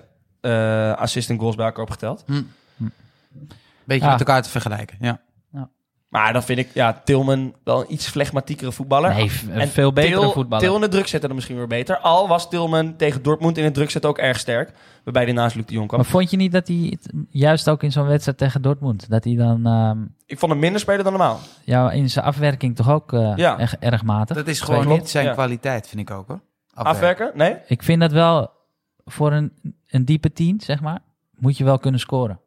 Speaker 2: eh assist en goals bij elkaar opgeteld.
Speaker 3: Beetje
Speaker 1: Ja.
Speaker 3: met elkaar te vergelijken. Ja.
Speaker 2: Maar dan vind ik ja, Tilman wel een iets flegmatiekere voetballer.
Speaker 1: Nee, v- een veel betere
Speaker 2: Til-
Speaker 1: voetballer.
Speaker 2: Til in de druk zetten dan misschien weer beter. Al was Tilman tegen Dortmund in het druk zetten ook erg sterk. Waarbij hij naast Luc de Jong kwam.
Speaker 1: Maar vond je niet dat hij, het- juist ook in zo'n wedstrijd tegen Dortmund, dat hij dan ehm,
Speaker 2: Ik vond hem minder spelen dan normaal.
Speaker 1: ja, in zijn afwerking toch ook eh,
Speaker 2: Ja.
Speaker 1: echt erg matig?
Speaker 3: Dat is
Speaker 1: Twee
Speaker 3: gewoon
Speaker 2: klopt,
Speaker 3: niet zijn
Speaker 2: ja.
Speaker 3: kwaliteit, vind ik ook hoor.
Speaker 2: Afwerken? Nee?
Speaker 1: Ik vind dat wel voor een, een diepe tien, zeg maar, moet je wel kunnen scoren.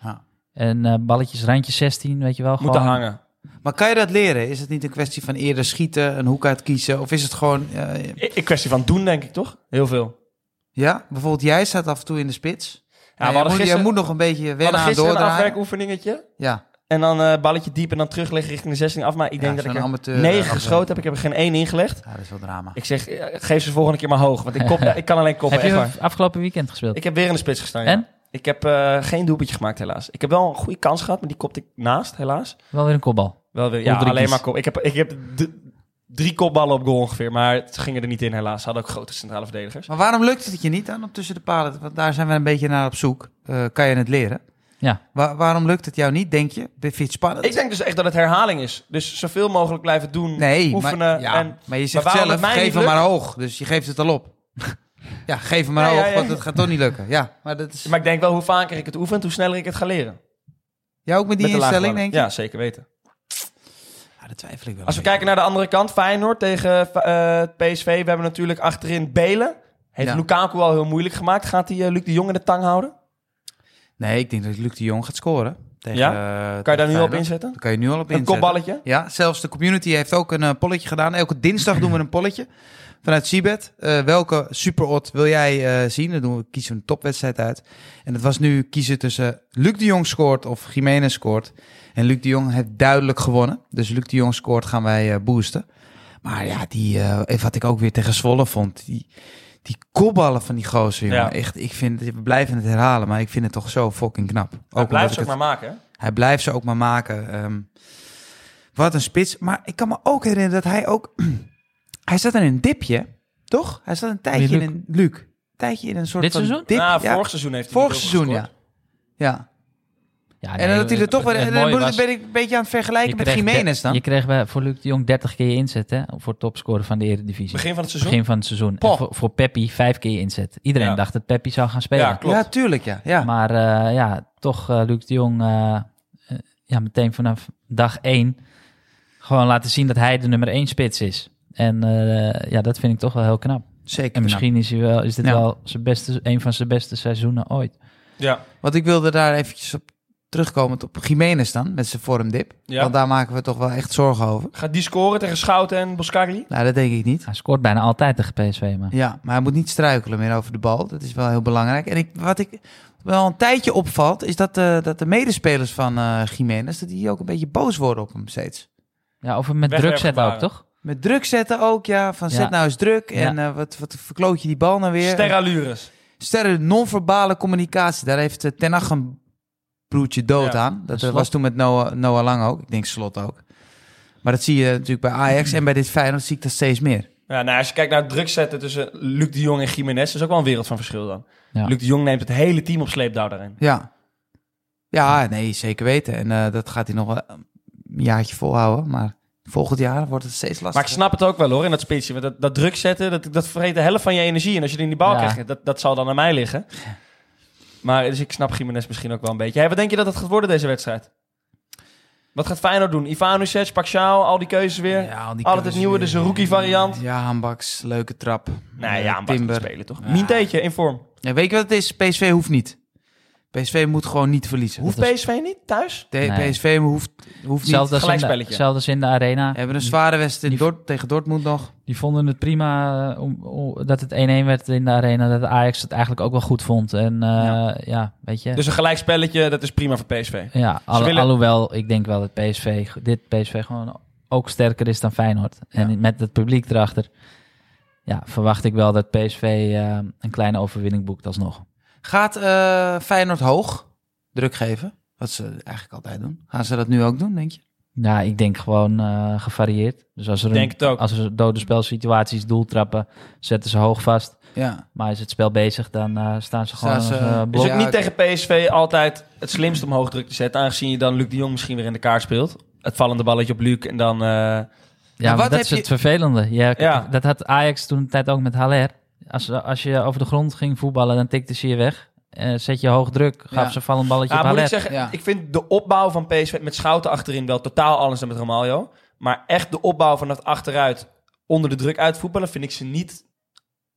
Speaker 3: Ja.
Speaker 1: En eh, balletjes, randje 16, weet je wel.
Speaker 2: Moeten
Speaker 1: gewoon,
Speaker 2: hangen.
Speaker 3: Maar kan je dat leren? Is het niet een kwestie van eerder schieten, een hoek uit kiezen? Of is het gewoon... eh,
Speaker 2: Ik, ik kwestie van doen, denk ik toch? Heel veel.
Speaker 3: ja, bijvoorbeeld jij staat af en toe in de spits.
Speaker 2: we
Speaker 3: Ja, je,
Speaker 2: hadden
Speaker 3: moet, je
Speaker 2: gisteren-
Speaker 3: moet nog een beetje
Speaker 2: We
Speaker 3: wennen
Speaker 2: hadden
Speaker 3: aan
Speaker 2: gisteren een
Speaker 3: doordraaien.
Speaker 2: afwerkoefeningetje.
Speaker 3: Ja,
Speaker 2: En dan eh, balletje diep en dan terugleggen richting de 16 af. Maar ik denk
Speaker 3: Ja,
Speaker 2: dat
Speaker 3: zo'n
Speaker 2: ik er
Speaker 3: amateur, eh,
Speaker 2: 9
Speaker 3: afwerk.
Speaker 2: geschoten heb. Ik heb er geen 1 ingelegd.
Speaker 3: ja, dat is wel drama.
Speaker 2: Ik zeg, eh, geef ze de volgende keer maar hoog. Want ik,
Speaker 3: (laughs)
Speaker 2: kop, ik kan alleen koppen.
Speaker 1: Heb
Speaker 2: echt
Speaker 1: je
Speaker 2: waar.
Speaker 1: afgelopen weekend gespeeld?
Speaker 2: Ik heb weer in de spits gestaan. ja.
Speaker 1: En?
Speaker 2: Ik heb eh, geen doelpuntje gemaakt, helaas. Ik heb wel een goede kans gehad, maar die kopte ik naast, helaas.
Speaker 1: Wel weer een kopbal.
Speaker 2: Wel weer, ja,
Speaker 1: Hoe drie
Speaker 2: alleen
Speaker 1: kies?
Speaker 2: maar kop. Ik heb, ik heb d- drie kopballen op goal ongeveer, maar het ging er niet in, helaas. Ze hadden ook grote centrale verdedigers.
Speaker 3: Maar waarom lukt het je niet dan op tussen de palen? Want daar zijn we een beetje naar op zoek. Eh, kan je het leren?
Speaker 1: Ja.
Speaker 3: Wa- waarom lukt het jou niet, denk je? Vind je het spannend?
Speaker 2: Ik denk dus echt dat het herhaling is. Dus zoveel mogelijk blijven doen,
Speaker 3: nee,
Speaker 2: oefenen.
Speaker 3: maar, ja,
Speaker 2: en,
Speaker 3: maar je zegt
Speaker 2: waarom het
Speaker 3: zelf,
Speaker 2: mij
Speaker 3: geef
Speaker 2: niet
Speaker 3: hem
Speaker 2: lukt?
Speaker 3: maar hoog. Dus je geeft het al op. ja, geef hem maar
Speaker 2: Ja, ja,
Speaker 3: hoog,
Speaker 2: ja.
Speaker 3: want het gaat toch niet lukken. Ja, maar dat is...
Speaker 2: maar ik denk wel, hoe vaker ik het oefen, hoe sneller ik het ga leren.
Speaker 3: Jij ook met die
Speaker 2: Met de lage
Speaker 3: instelling,
Speaker 2: ballen.
Speaker 3: denk je?
Speaker 2: Ja, zeker weten.
Speaker 3: Ja, dat twijfel ik wel.
Speaker 2: Als we
Speaker 3: een beetje.
Speaker 2: kijken naar de andere kant, Feyenoord tegen eh, PSV. We hebben natuurlijk achterin Belen. Heeft
Speaker 3: Ja.
Speaker 2: Lukaku al heel moeilijk gemaakt. Gaat hij eh, Luc de Jong in de tang houden?
Speaker 3: Nee, ik denk dat Luc de Jong gaat scoren. Tegen,
Speaker 2: Ja?
Speaker 3: eh, tegen
Speaker 2: Kan je daar nu al op
Speaker 3: Feyenoord.
Speaker 2: inzetten?
Speaker 3: Daar kan je nu al op
Speaker 2: Een
Speaker 3: inzetten.
Speaker 2: kopballetje?
Speaker 3: Ja, zelfs de community heeft ook een eh, polletje gedaan. Elke dinsdag doen we een polletje vanuit Seabed. Eh, welke superot wil jij eh, zien? Dan doen we, kiezen we een topwedstrijd uit. En het was nu kiezen tussen Luc de Jong scoort of Jiménez scoort. En Luc de Jong heeft duidelijk gewonnen. Dus Luc de Jong scoort gaan wij eh, boosten. Maar ja, die, eh, wat ik ook weer tegen Zwolle vond... Die, die kopballen van die gozer, jongen.
Speaker 2: Ja.
Speaker 3: Echt, ik vind, we blijven het herhalen, maar ik vind het toch zo fucking knap.
Speaker 2: Hij
Speaker 3: Ook omdat
Speaker 2: blijft
Speaker 3: ik
Speaker 2: ze ook
Speaker 3: het-
Speaker 2: maar maken. hè?
Speaker 3: hij blijft ze ook maar maken. Ehm, wat een spits. Maar ik kan me ook herinneren dat hij ook... (clears throat) hij zat in een dipje, toch? Hij zat een tijdje
Speaker 1: Wie,
Speaker 3: in een... Luc. Een tijdje in een soort
Speaker 1: Dit
Speaker 3: van
Speaker 1: seizoen?
Speaker 3: dip.
Speaker 2: Nou,
Speaker 3: ja,
Speaker 2: vorig seizoen heeft hij
Speaker 3: vorig
Speaker 2: niet heel
Speaker 3: seizoen,
Speaker 2: veel
Speaker 3: ja. Ja.
Speaker 1: Ja,
Speaker 3: En
Speaker 1: nee,
Speaker 3: dat hij er toch wel...
Speaker 1: het
Speaker 3: En
Speaker 1: mooie
Speaker 3: dan
Speaker 1: was-
Speaker 3: ben ik een beetje aan het vergelijken
Speaker 1: je
Speaker 3: met
Speaker 1: kreeg
Speaker 3: Jiménez
Speaker 1: de-
Speaker 3: dan.
Speaker 1: Je kreeg bij, voor Luc de Jong 30 keer je inzet hè, voor topscorer van de Eredivisie.
Speaker 2: Begin van het seizoen?
Speaker 1: Begin van het seizoen.
Speaker 2: Poh.
Speaker 1: En Voor, voor Peppi vijf keer je inzet. Iedereen
Speaker 2: Ja.
Speaker 1: dacht dat Peppi zou gaan spelen.
Speaker 2: Ja, klopt.
Speaker 3: Ja, tuurlijk, ja. ja.
Speaker 1: Maar eh, ja, toch eh, Luc de Jong eh, eh, ja, meteen vanaf dag één gewoon laten zien dat hij de nummer één spits is. En eh, ja, dat vind ik toch wel heel knap.
Speaker 3: Zeker.
Speaker 1: En misschien is, hij wel, is dit
Speaker 3: Ja.
Speaker 1: wel zijn beste, een van zijn beste seizoenen ooit.
Speaker 2: Ja.
Speaker 3: Want ik wilde daar eventjes op terugkomen op Jiménez dan, met zijn vormdip.
Speaker 2: Ja.
Speaker 3: Want daar maken we toch wel echt zorgen over.
Speaker 2: Gaat die scoren tegen Schouten en Boskagli?
Speaker 3: Nou, dat denk ik niet.
Speaker 1: Hij scoort bijna altijd tegen PSV, maar
Speaker 3: Ja, maar hij moet niet struikelen meer over de bal. Dat is wel heel belangrijk. En ik, wat ik wel een tijdje opvalt, is dat, eh, dat de medespelers van eh Jiménez... dat die ook een beetje boos worden op hem steeds.
Speaker 1: ja, of hem met druk zetten ook,
Speaker 2: Wegwerpgevaren.
Speaker 1: toch?
Speaker 3: Met druk zetten ook, ja. Van
Speaker 1: Ja.
Speaker 3: zet nou eens druk.
Speaker 1: Ja.
Speaker 3: En eh, wat, wat verkloot je die bal nou weer?
Speaker 2: Sterralures.
Speaker 3: Sterren, non-verbale communicatie. Daar heeft eh, Ten Hag een broertje dood
Speaker 2: Ja.
Speaker 3: aan. Dat
Speaker 1: En
Speaker 3: eh, was
Speaker 1: Slot.
Speaker 3: toen met Noah, Noah Lang ook. Ik denk Slot ook. Maar dat zie je natuurlijk bij Ajax en bij dit Feyenoord zie ik dat steeds meer.
Speaker 2: Ja, nou, als je kijkt naar het druk zetten tussen Luc de Jong en Jiménez, is ook wel een wereld van verschil dan.
Speaker 1: Ja.
Speaker 2: Luc de Jong neemt het hele team op sleepdouw daarin.
Speaker 3: Ja. Ja, nee, zeker weten. En eh, dat gaat hij nog wel een jaartje volhouden. Maar volgend jaar wordt het steeds
Speaker 2: Maar ik
Speaker 3: lastiger.
Speaker 2: snap het ook wel hoor, in dat spitsje. Want dat, dat druk zetten, dat, dat vreet de helft van je energie. En als je die in die bal
Speaker 1: Ja.
Speaker 2: krijgt, dat, dat zal dan aan mij liggen. Maar dus ik snap Jiménez misschien ook wel een beetje. Hey, wat denk je dat het gaat worden deze wedstrijd? Wat gaat Feyenoord doen? Ivanusic, Paxao, al die keuzes weer.
Speaker 3: Ja, al
Speaker 2: Altijd
Speaker 3: die keuzes
Speaker 2: het nieuwe,
Speaker 3: weer.
Speaker 2: dus een rookie-variant.
Speaker 3: Ja, Handbaks, leuke trap.
Speaker 2: Nee,
Speaker 3: Eh,
Speaker 2: ja, maar
Speaker 3: Timber.
Speaker 2: gaat spelen toch?
Speaker 3: Ja.
Speaker 2: Minteetje in vorm.
Speaker 3: Ja, weet je wat het is? PSV hoeft niet. PSV moet gewoon niet verliezen.
Speaker 2: Hoeft
Speaker 1: Dat is-
Speaker 2: PSV niet thuis?
Speaker 3: De-
Speaker 1: Nee.
Speaker 3: PSV hoeft, hoeft niet.
Speaker 1: Hetzelfde als, in de,
Speaker 2: gelijkspelletje.
Speaker 1: hetzelfde als in de arena.
Speaker 3: We hebben een zware wedstrijd in
Speaker 1: Die-
Speaker 3: Dort- tegen Dortmund nog.
Speaker 1: Die vonden het prima eh, om, om- dat het 1-1 werd in de arena. Dat Ajax het eigenlijk ook wel goed vond. En eh, ja. weet je.
Speaker 2: Dus een gelijkspelletje, dat is prima voor PSV.
Speaker 1: ja, alle-
Speaker 2: willen-
Speaker 1: Alhoewel, ik denk wel dat PSV, go- dit PSV gewoon ook sterker is dan Feyenoord. En met het publiek erachter. Ja, verwacht ik wel dat PSV eh, een kleine overwinning boekt alsnog.
Speaker 3: Gaat eh, Feyenoord hoog druk geven? Wat ze eigenlijk altijd doen. Gaan ze dat nu ook doen, denk je?
Speaker 1: Ja, ik denk gewoon eh, gevarieerd. Dus als er, een,
Speaker 2: Denk het ook.
Speaker 1: als er dode spelsituaties, doeltrappen, zetten ze hoog vast.
Speaker 3: Ja.
Speaker 1: Maar is het spel bezig, dan eh, staan ze gewoon
Speaker 3: Staan ze,
Speaker 1: als, eh,
Speaker 3: eh,
Speaker 2: Dus
Speaker 1: blok.
Speaker 2: ook
Speaker 3: Ja,
Speaker 2: niet
Speaker 3: oké.
Speaker 2: tegen PSV altijd het slimst om hoog druk te zetten. Aangezien je dan Luc de Jong misschien weer in de kaart speelt. Het vallende balletje op Luc en dan... eh,
Speaker 1: Ja,
Speaker 3: Maar
Speaker 1: maar
Speaker 3: wat
Speaker 1: dat is
Speaker 3: heb
Speaker 1: het
Speaker 3: je-
Speaker 1: vervelende. Ja, k-
Speaker 2: Ja.
Speaker 1: Dat had Ajax toen een tijd ook met Haller. Als, als je over de grond ging voetballen, dan tikte ze je weg. Eh, zet je hoog druk, gaf
Speaker 3: Ja.
Speaker 1: ze vallen balletje op
Speaker 2: Ja, Ah, moet
Speaker 1: Haller.
Speaker 2: ik zeggen,
Speaker 3: Ja.
Speaker 2: ik vind de opbouw van PSV met Schouten achterin wel totaal anders dan met Romaglio. Maar echt de opbouw van dat achteruit onder de druk uitvoetballen vind ik ze niet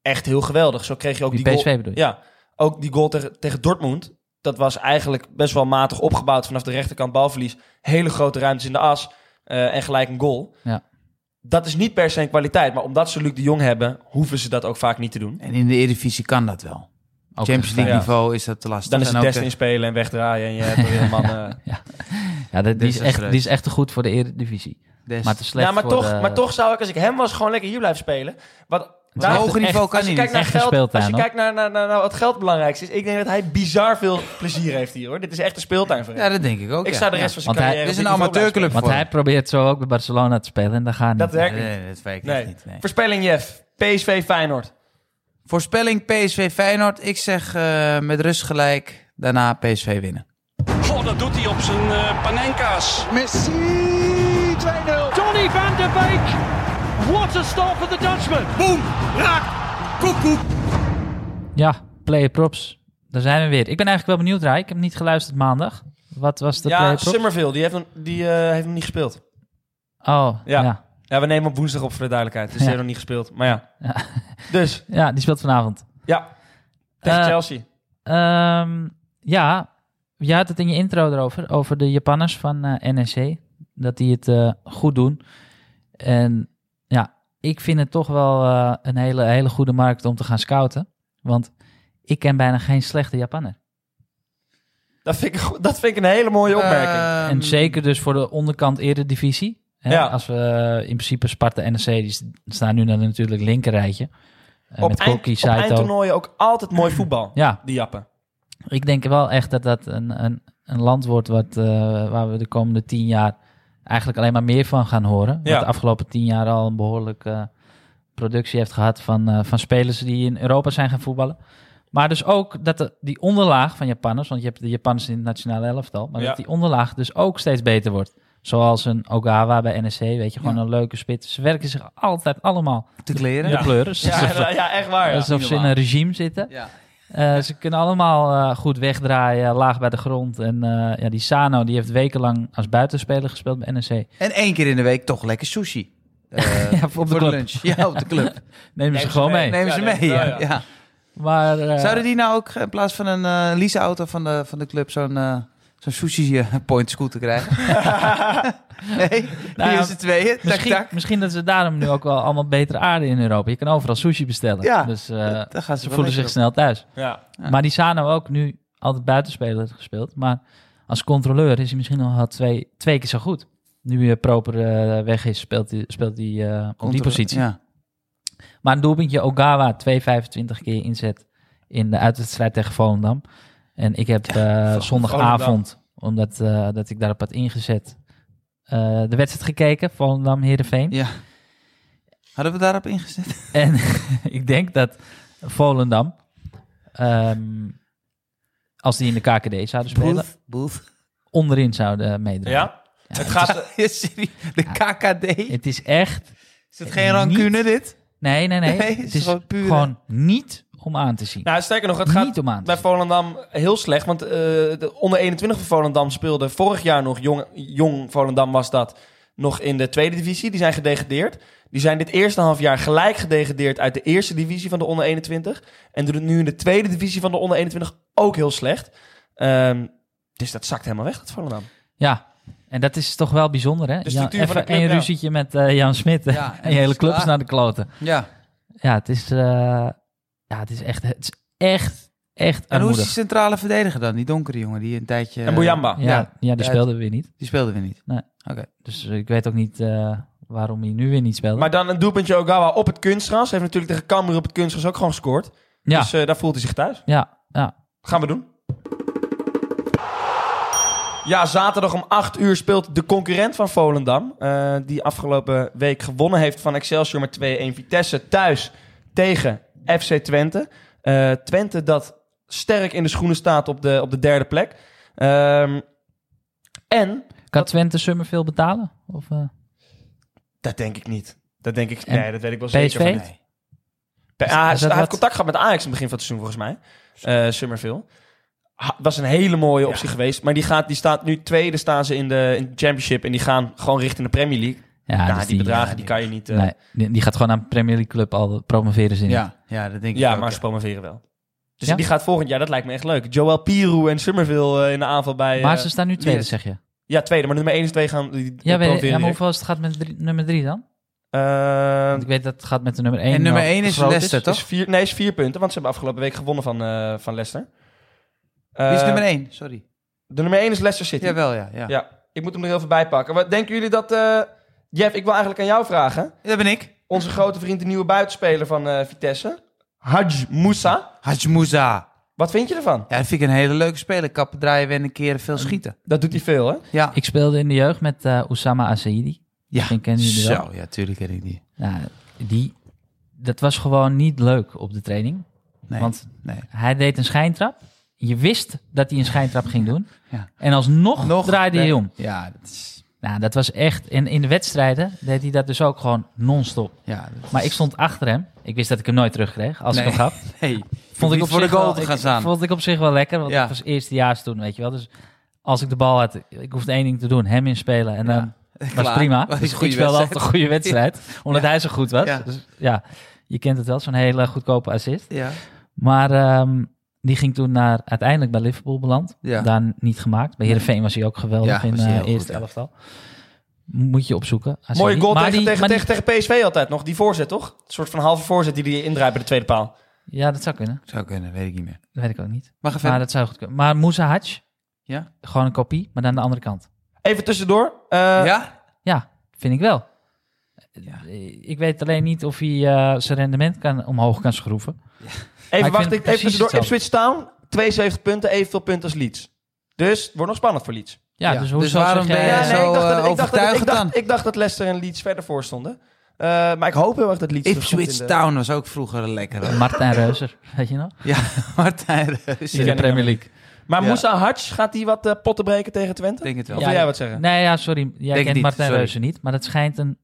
Speaker 2: echt heel geweldig. Zo kreeg je ook
Speaker 1: Die
Speaker 2: die,
Speaker 1: PSV
Speaker 2: goal.
Speaker 1: bedoel je?
Speaker 2: Ja, ook die goal tegen, tegen Dortmund. Dat was eigenlijk best wel matig opgebouwd vanaf de rechterkant balverlies. Hele grote ruimtes in de as eh, en gelijk een goal.
Speaker 1: Ja.
Speaker 2: Dat is niet per se een kwaliteit, maar omdat ze Luc de Jong hebben, hoeven ze dat ook vaak niet te doen.
Speaker 3: En in de Eredivisie kan dat wel.
Speaker 1: Ook
Speaker 3: Champions
Speaker 1: echt
Speaker 3: League
Speaker 2: ja.
Speaker 3: niveau is dat te lastig.
Speaker 2: Dan is
Speaker 3: En
Speaker 2: het
Speaker 3: ook eh,
Speaker 2: best
Speaker 3: de-
Speaker 2: inspelen en wegdraaien en je hebt weer een man... eh,
Speaker 1: fijn. Ja, dat- die, is echt,
Speaker 3: Desastreus.
Speaker 1: die is echt te goed voor de Eredivisie.
Speaker 3: des-
Speaker 1: Maar te slecht
Speaker 2: ja, maar
Speaker 1: voor
Speaker 2: toch,
Speaker 1: de-
Speaker 2: maar toch zou ik, als ik hem was, gewoon lekker hier blijven spelen. Wat,
Speaker 3: Maar
Speaker 1: echt-
Speaker 3: hoger niveau kan
Speaker 2: als je
Speaker 3: hij
Speaker 2: kijkt
Speaker 3: niet.
Speaker 2: naar
Speaker 1: Echt
Speaker 2: geld,
Speaker 1: speeltuin,
Speaker 2: als je
Speaker 1: hoor.
Speaker 2: kijkt naar, naar, naar, naar wat geld het belangrijkste is, ik denk dat hij bizar veel plezier heeft hier, hoor. Dit is echt een speeltuin voor hem.
Speaker 3: Ja, dat denk ik ook.
Speaker 2: ik
Speaker 3: ja.
Speaker 2: zou de
Speaker 3: Ja.
Speaker 2: rest van zijn
Speaker 1: Want hij-
Speaker 2: carrière...
Speaker 3: Dit
Speaker 2: op
Speaker 3: is een
Speaker 2: dit niveau blijven
Speaker 3: amateurclub.
Speaker 1: Want
Speaker 3: voor
Speaker 1: hij
Speaker 3: hem.
Speaker 1: probeert zo ook bij Barcelona te spelen en dan gaan
Speaker 2: Dat werkt
Speaker 3: Nee,
Speaker 2: niet.
Speaker 3: nee, dat weet ik
Speaker 2: Nee.
Speaker 3: echt niet. Nee.
Speaker 2: spelen. Voorspelling Jeff, PSV Feyenoord.
Speaker 3: Voorspelling PSV Feyenoord. Ik zeg eh, met rust gelijk. Daarna PSV winnen.
Speaker 4: Goh, dat doet hij op zijn eh, panenka's.
Speaker 5: Messi 2-0. Donny van de Beek. What a start for the Dutchman.
Speaker 1: Ja, player props. Daar zijn we weer. Ik ben eigenlijk wel benieuwd, Rai. Ik heb niet geluisterd maandag. Wat was de
Speaker 2: ja,
Speaker 3: eh,
Speaker 1: player props?
Speaker 2: Summerville, die heeft hem, die, eh, heeft hem niet gespeeld.
Speaker 1: Oh, ja.
Speaker 2: Ja.
Speaker 1: ja.
Speaker 2: Ja, we nemen op woensdag op voor de duidelijkheid. Dus
Speaker 1: Ja.
Speaker 2: die heeft nog niet gespeeld. Maar ja. Dus,
Speaker 1: die speelt vanavond.
Speaker 2: ja. Tegen
Speaker 1: Eh,
Speaker 2: Chelsea.
Speaker 1: Ehm, ja, je had het in je intro erover, over de Japanners van eh NEC. Dat die het eh, goed doen. En ja, ik vind het toch wel eh, een hele, hele goede markt om te gaan scouten. Want ik ken bijna geen slechte Japanner.
Speaker 2: Dat vind, ik, een go- dat vind ik een hele mooie opmerking.
Speaker 3: Ehm,
Speaker 1: en zeker dus voor de onderkant eredivisie. Hè?
Speaker 2: Ja.
Speaker 1: Als we eh, in principe Sparta en NEC, die s- staan nu dan natuurlijk linkerrijtje. Eh,
Speaker 2: op
Speaker 1: met
Speaker 2: eind-
Speaker 1: Koki,
Speaker 2: op
Speaker 1: Saito.
Speaker 2: eindtoernooien ook altijd mooi voetbal.
Speaker 1: Ja,
Speaker 2: Die jappen.
Speaker 1: ik denk wel echt dat dat een, een, een land wordt wat, eh, waar we de komende tien jaar eigenlijk alleen maar meer van gaan horen.
Speaker 2: Ja.
Speaker 1: Wat de afgelopen tien jaar al een behoorlijke eh, productie heeft gehad van, eh, van spelers die in Europa zijn gaan voetballen. Maar dus ook dat de, die onderlaag van Japanners, want je hebt de Japanners in het nationale elftal, maar
Speaker 2: Ja.
Speaker 1: dat die onderlaag dus ook steeds beter wordt. Zoals een Ogawa bij NEC, weet je, gewoon
Speaker 3: Ja.
Speaker 1: een leuke spits. Ze werken zich altijd allemaal
Speaker 3: te kleren.
Speaker 1: de
Speaker 2: Ja.
Speaker 1: kleuren.
Speaker 2: (laughs) Ja,
Speaker 1: Alsof-
Speaker 2: ja, ja, echt waar. Ja.
Speaker 1: alsof ze in een regime zitten.
Speaker 3: Ja.
Speaker 1: Eh,
Speaker 3: (laughs)
Speaker 1: ze kunnen allemaal eh, goed wegdraaien, laag bij de grond. En eh, ja, die Sano die heeft wekenlang als buitenspeler gespeeld bij E NEC.
Speaker 3: En één keer in de week toch lekker
Speaker 1: (laughs)
Speaker 3: sushi. Eh,
Speaker 1: Ja, op de club.
Speaker 3: lunch. Ja, op de
Speaker 1: (laughs)
Speaker 3: club.
Speaker 1: Nemen ze gewoon mee.
Speaker 3: Neem
Speaker 2: Ja,
Speaker 3: ze
Speaker 2: nee,
Speaker 3: mee.
Speaker 2: wel,
Speaker 3: Ja,
Speaker 2: ja.
Speaker 3: ja.
Speaker 1: Maar eh,
Speaker 3: Zouden die nou ook eh, in plaats van een eh leaseauto van de, van de club zo'n eh zo'n sushi eh, (laughs) point scooter
Speaker 1: (laughs)
Speaker 3: krijgen? nee,
Speaker 1: Nou ja,
Speaker 3: hier is het tweeën. Tak,
Speaker 1: misschien,
Speaker 3: tak.
Speaker 1: misschien dat ze daarom nu ook wel allemaal betere aarde in Europa. Je kan overal sushi bestellen.
Speaker 3: Ja,
Speaker 1: dus eh,
Speaker 3: Dan gaan
Speaker 1: ze
Speaker 3: wel
Speaker 1: voelen
Speaker 3: lekker
Speaker 1: zich
Speaker 3: op.
Speaker 1: snel thuis.
Speaker 2: Ja.
Speaker 3: Ja.
Speaker 1: Maar die Sano ook nu altijd buitenspeler gespeeld. Maar als controleur is hij misschien nog wel twee, twee keer zo goed. Nu eh, proper eh, weg is, speelt hij speelt hij, eh, op die
Speaker 3: Contra-
Speaker 1: positie.
Speaker 3: Ja.
Speaker 1: Maar een doelpuntje Ogawa 2,25 keer inzet in de uitwedstrijd tegen Volendam. En ik heb eh, zondagavond, omdat eh, dat ik daarop had ingezet, eh, de wedstrijd gekeken. Volendam, Heerenveen.
Speaker 3: ja. Hadden we daarop ingezet?
Speaker 1: En (laughs) ik denk dat Volendam, ehm, als die in de KKD zouden spelen,
Speaker 3: Boef.
Speaker 1: onderin zouden meedraaien.
Speaker 2: Ja? Het gaat...
Speaker 3: (laughs) Ja, serie. De
Speaker 1: Eh,
Speaker 3: KKD.
Speaker 1: Het is echt... eh,
Speaker 3: Is het geen rancune dit?
Speaker 1: Nee, nee, nee.
Speaker 3: Nee, het
Speaker 1: het
Speaker 3: is
Speaker 1: is
Speaker 3: gewoon puur, hè?
Speaker 1: gewoon niet om aan te zien.
Speaker 2: Nou, sterker nog, het gaat
Speaker 1: Niet om aan te
Speaker 2: bij
Speaker 1: zien.
Speaker 2: Volendam heel slecht. Want eh, de onder 21 van Volendam speelde vorig jaar nog, jong, jong Volendam was dat, nog in de tweede divisie. Die zijn gedegradeerd. Die zijn dit eerste half jaar gelijk gedegradeerd uit de eerste divisie van de onder 21. En doen het nu in de tweede divisie van de onder 21 ook heel slecht. Ehm, dus dat zakt helemaal weg, dat Volendam.
Speaker 1: Ja, en dat is toch wel bijzonder, hè?
Speaker 2: De
Speaker 1: Jan,
Speaker 2: structuur van de
Speaker 1: even
Speaker 2: club,
Speaker 1: één
Speaker 2: ja.
Speaker 1: ruzietje met eh, Jan Smit (laughs) en
Speaker 3: Ja, en
Speaker 1: je
Speaker 3: het
Speaker 1: hele
Speaker 3: is
Speaker 1: club is
Speaker 3: klaar.
Speaker 1: naar de kloten.
Speaker 3: Ja.
Speaker 1: Ja, het is, eh, ja, het is echt, het is echt, echt
Speaker 3: En hoe is die
Speaker 1: armoedig.
Speaker 3: centrale verdediger dan? Die donkere jongen die een tijdje... eh,
Speaker 2: En Bouyamba.
Speaker 1: ja, ja,
Speaker 3: Ja,
Speaker 1: die
Speaker 3: het-
Speaker 1: speelden we weer niet.
Speaker 3: Die speelde weer niet.
Speaker 1: Dus eh, ik weet ook niet eh, waarom hij nu weer niet speelde.
Speaker 2: Maar dan een doelpuntje Ogawa op het kunstgras. Heeft natuurlijk tegen Cambuur op het kunstgras ook gewoon gescoord.
Speaker 1: ja,
Speaker 2: Dus eh, daar voelt hij zich thuis.
Speaker 1: ja, ja,
Speaker 2: Gaan we doen. Ja, zaterdag om 8 uur speelt de concurrent van Volendam. eh, die afgelopen week gewonnen heeft van Excelsior met 2-1 Vitesse thuis tegen FC Twente. Eh, Twente dat sterk in de schoenen staat op de, op de derde plek. Ehm, en,
Speaker 1: Kan Twente Summer veel betalen? Of, eh,
Speaker 2: dat denk ik niet. Dat denk ik,
Speaker 1: En
Speaker 2: nee, dat weet ik wel
Speaker 1: PSV?
Speaker 2: zeker van niet. Pe- ah,
Speaker 1: is dat
Speaker 2: hij
Speaker 1: wat-
Speaker 2: heeft contact gehad met Ajax in het begin van het seizoen, volgens mij. Eh Summerville. Ha- was een hele mooie optie geweest. Maar die, gaat, die staat nu tweede staan ze in de, in de championship. En die gaan gewoon richting de Premier League.
Speaker 1: ja,
Speaker 2: nou,
Speaker 1: dus
Speaker 2: die, bedragen
Speaker 1: ja,
Speaker 2: die kan je niet... eh,
Speaker 1: Nee, die, die gaat gewoon naar een Premier League club al promoveren zin.
Speaker 3: Ja, ja dat denk ik
Speaker 2: ja,
Speaker 3: ook,
Speaker 2: maar ze promoveren wel. Dus
Speaker 1: Ja?
Speaker 2: die gaat volgend jaar, dat lijkt me echt leuk. Joel Pirou en Summerville eh, in de aanval bij... eh,
Speaker 1: Maar ze staan nu tweede,
Speaker 3: yes.
Speaker 1: zeg je.
Speaker 2: Ja, tweede. Maar nummer 1 en 2 gaan die, die
Speaker 1: Ja, weet,
Speaker 2: promoveren
Speaker 1: ja, maar
Speaker 2: direct.
Speaker 1: hoeveel is het gaat met drie- nummer drie dan? Want
Speaker 2: Eh,
Speaker 1: ik weet dat het gaat met de nummer één.
Speaker 3: En nummer
Speaker 1: wel
Speaker 3: één is
Speaker 1: groot
Speaker 3: Leicester,
Speaker 2: is
Speaker 3: toch?
Speaker 2: vier, nee, is vier punten. Want ze hebben afgelopen week gewonnen van, eh, van Leicester.
Speaker 3: Wie is
Speaker 2: Eh,
Speaker 3: nummer 1? Sorry.
Speaker 2: De nummer 1 is Leicester City.
Speaker 3: Jawel, ja. ja.
Speaker 2: Ja, ik moet hem er heel veel bij pakken. Wat denken jullie dat... eh, Jeff, ik wil eigenlijk aan jou vragen.
Speaker 3: Dat ben ik.
Speaker 2: Onze grote vriend, de nieuwe buitenspeler van eh, Vitesse. Haj Moussa.
Speaker 3: Hajmuza.
Speaker 2: Wat vind je ervan?
Speaker 3: Ja, dat vind ik een hele leuke speler. Kappen draaien, wennen, keren, veel schieten.
Speaker 2: Dat doet hij veel, hè?
Speaker 3: Ja.
Speaker 1: Ik speelde in de jeugd met eh Oussama Asaidi.
Speaker 3: Ja,
Speaker 1: Misschien kennen jullie wel.
Speaker 3: zo. Ja, tuurlijk ken ik die.
Speaker 1: Nou, die, dat was gewoon niet leuk op de training.
Speaker 3: Nee,
Speaker 1: Want
Speaker 3: nee.
Speaker 1: hij deed een schijntrap. Je wist dat hij een schijntrap ging doen.
Speaker 3: (laughs) Ja.
Speaker 1: En alsnog
Speaker 3: Nog
Speaker 1: draaide hij
Speaker 3: nee.
Speaker 1: om.
Speaker 3: Ja, dat is...
Speaker 1: Nou, dat was echt... En in de wedstrijden deed hij dat dus ook gewoon non-stop.
Speaker 3: Ja, dat
Speaker 1: Maar
Speaker 3: is-
Speaker 1: ik stond achter hem. Ik wist dat ik hem nooit terugkreeg als ik
Speaker 3: Nee.
Speaker 1: hem gaf.
Speaker 3: Nee,
Speaker 1: Vond ik op
Speaker 3: voor de
Speaker 1: zich
Speaker 3: goal
Speaker 1: wel-
Speaker 3: te
Speaker 1: ik-
Speaker 3: gaan staan.
Speaker 1: Vond ik op zich wel lekker, want
Speaker 3: Ja.
Speaker 1: ik was eerstejaars toen, weet je wel. Dus als ik de bal had, ik hoefde één ding te doen, hem inspelen. En
Speaker 3: Ja. (laughs)
Speaker 1: dan was
Speaker 3: Klaar.
Speaker 1: prima.
Speaker 3: Was
Speaker 1: Dus
Speaker 3: een
Speaker 1: ik
Speaker 3: goede
Speaker 1: speelde
Speaker 3: wedstrijd.
Speaker 1: altijd een goede
Speaker 3: (laughs)
Speaker 1: wedstrijd, omdat hij zo goed was.
Speaker 3: Ja.
Speaker 1: Dus ja, je kent het wel, zo'n hele goedkope assist.
Speaker 3: Ja.
Speaker 1: Maar ehm, die ging toen naar, uiteindelijk bij Liverpool beland.
Speaker 3: Ja.
Speaker 1: Daar niet gemaakt. Bij Heerenveen was hij ook geweldig
Speaker 3: Ja,
Speaker 1: in
Speaker 3: was
Speaker 1: de
Speaker 3: hij heel
Speaker 1: eerste
Speaker 3: goed, ja.
Speaker 1: elftal. Moet je opzoeken. Als je
Speaker 2: Mooie
Speaker 1: die-
Speaker 2: goal
Speaker 1: maar
Speaker 2: tegen,
Speaker 1: die-
Speaker 2: tegen,
Speaker 1: maar die-
Speaker 2: tegen, tegen PSV altijd nog. Die voorzet, toch? Een soort van halve voorzet die hij indraait bij de tweede paal.
Speaker 1: Ja, dat zou kunnen.
Speaker 3: Zou kunnen, weet ik niet meer.
Speaker 1: Dat weet ik ook niet.
Speaker 3: Mag even...
Speaker 1: Maar dat zou goed kunnen. Maar Moussa Hadj,
Speaker 3: Ja?
Speaker 1: gewoon een kopie, maar dan aan de andere kant.
Speaker 2: Even tussendoor. eh,
Speaker 3: ja?
Speaker 1: Ja, vind ik wel. Eh,
Speaker 3: Ja.
Speaker 1: Ik weet alleen niet of hij eh, zijn rendement kan, omhoog kan schroeven.
Speaker 2: Even
Speaker 1: ik
Speaker 2: wacht,
Speaker 1: vind
Speaker 2: ik, even
Speaker 1: precies
Speaker 2: tussendoor.
Speaker 1: hetzelfde.
Speaker 2: Ipswich Town, 72 punten, evenveel punten als Leeds. Dus het wordt nog spannend voor Leeds.
Speaker 1: Ja,
Speaker 3: Ja,
Speaker 1: dus hoe
Speaker 3: dus
Speaker 1: zou
Speaker 3: waarom ben jij
Speaker 1: jij...
Speaker 3: zo-
Speaker 2: ik dacht
Speaker 3: eh,
Speaker 2: dat, ik, dacht dat, ik,
Speaker 3: overtuigend dan.
Speaker 2: dacht, ik dacht dat Leicester en Leeds verder voor stonden. Eh, maar ik hoop heel erg dat Leeds... terugkomt in
Speaker 3: Ipswich
Speaker 2: de-
Speaker 3: Town was ook vroeger lekker. hoor.
Speaker 1: Martijn Reuser, (laughs) weet je nog?
Speaker 3: Ja, Martijn Reus.
Speaker 1: In de
Speaker 2: ken ik
Speaker 1: Premier League.
Speaker 2: Maar
Speaker 3: Ja.
Speaker 2: Moussa Hadj, gaat hij wat eh, potten breken tegen Twente?
Speaker 3: Ik denk het wel.
Speaker 2: Of
Speaker 1: Ja,
Speaker 2: wil jij
Speaker 1: ik-
Speaker 2: wat zeggen?
Speaker 1: Nee, ja, sorry. Jij
Speaker 3: het
Speaker 1: kent
Speaker 3: niet,
Speaker 1: Martijn
Speaker 3: sorry.
Speaker 1: Reuser niet. Maar dat schijnt een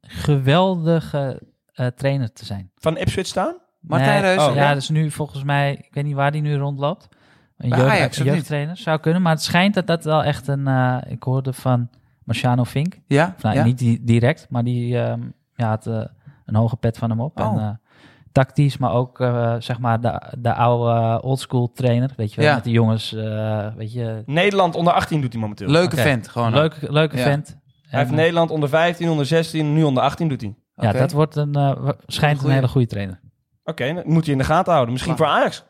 Speaker 1: geweldige eh, trainer te zijn.
Speaker 2: Van Ipswich Town?
Speaker 3: Martijn
Speaker 1: Nee,
Speaker 3: Reus.
Speaker 2: oh,
Speaker 1: ja,
Speaker 3: ja.
Speaker 1: dat is nu volgens mij... Ik weet niet waar die nu rondloopt. Een
Speaker 3: Bij
Speaker 1: jeugd,
Speaker 3: Ajax of niet?
Speaker 1: jeugdtrainer zou kunnen. Maar het schijnt dat dat wel echt een... eh, ik hoorde van Marciano Fink.
Speaker 3: Ja?
Speaker 1: Of nou,
Speaker 3: Ja?
Speaker 1: niet di- direct, maar die ehm, ja, had eh, een hoge pet van hem op.
Speaker 3: Oh.
Speaker 1: En, eh, tactisch, maar ook eh, zeg maar de, de oude eh, oldschool trainer. Weet je wel,
Speaker 3: Ja.
Speaker 1: met de jongens. eh, weet je,
Speaker 2: Nederland onder 18 doet hij momenteel.
Speaker 3: Leuke
Speaker 1: Oké.
Speaker 3: vent, gewoon. eh,
Speaker 1: leuke, leuke
Speaker 3: Ja.
Speaker 1: vent.
Speaker 2: Hij heeft
Speaker 1: En,
Speaker 2: Nederland onder 15, onder 16, nu onder 18 doet hij. Oké,
Speaker 1: Ja,
Speaker 3: Oké.
Speaker 1: dat wordt een, eh, wa- schijnt
Speaker 3: Goeie.
Speaker 1: een hele goede
Speaker 3: (laughs)
Speaker 1: trainer.
Speaker 2: dat moet hij in de gaten houden. Misschien voor Ajax.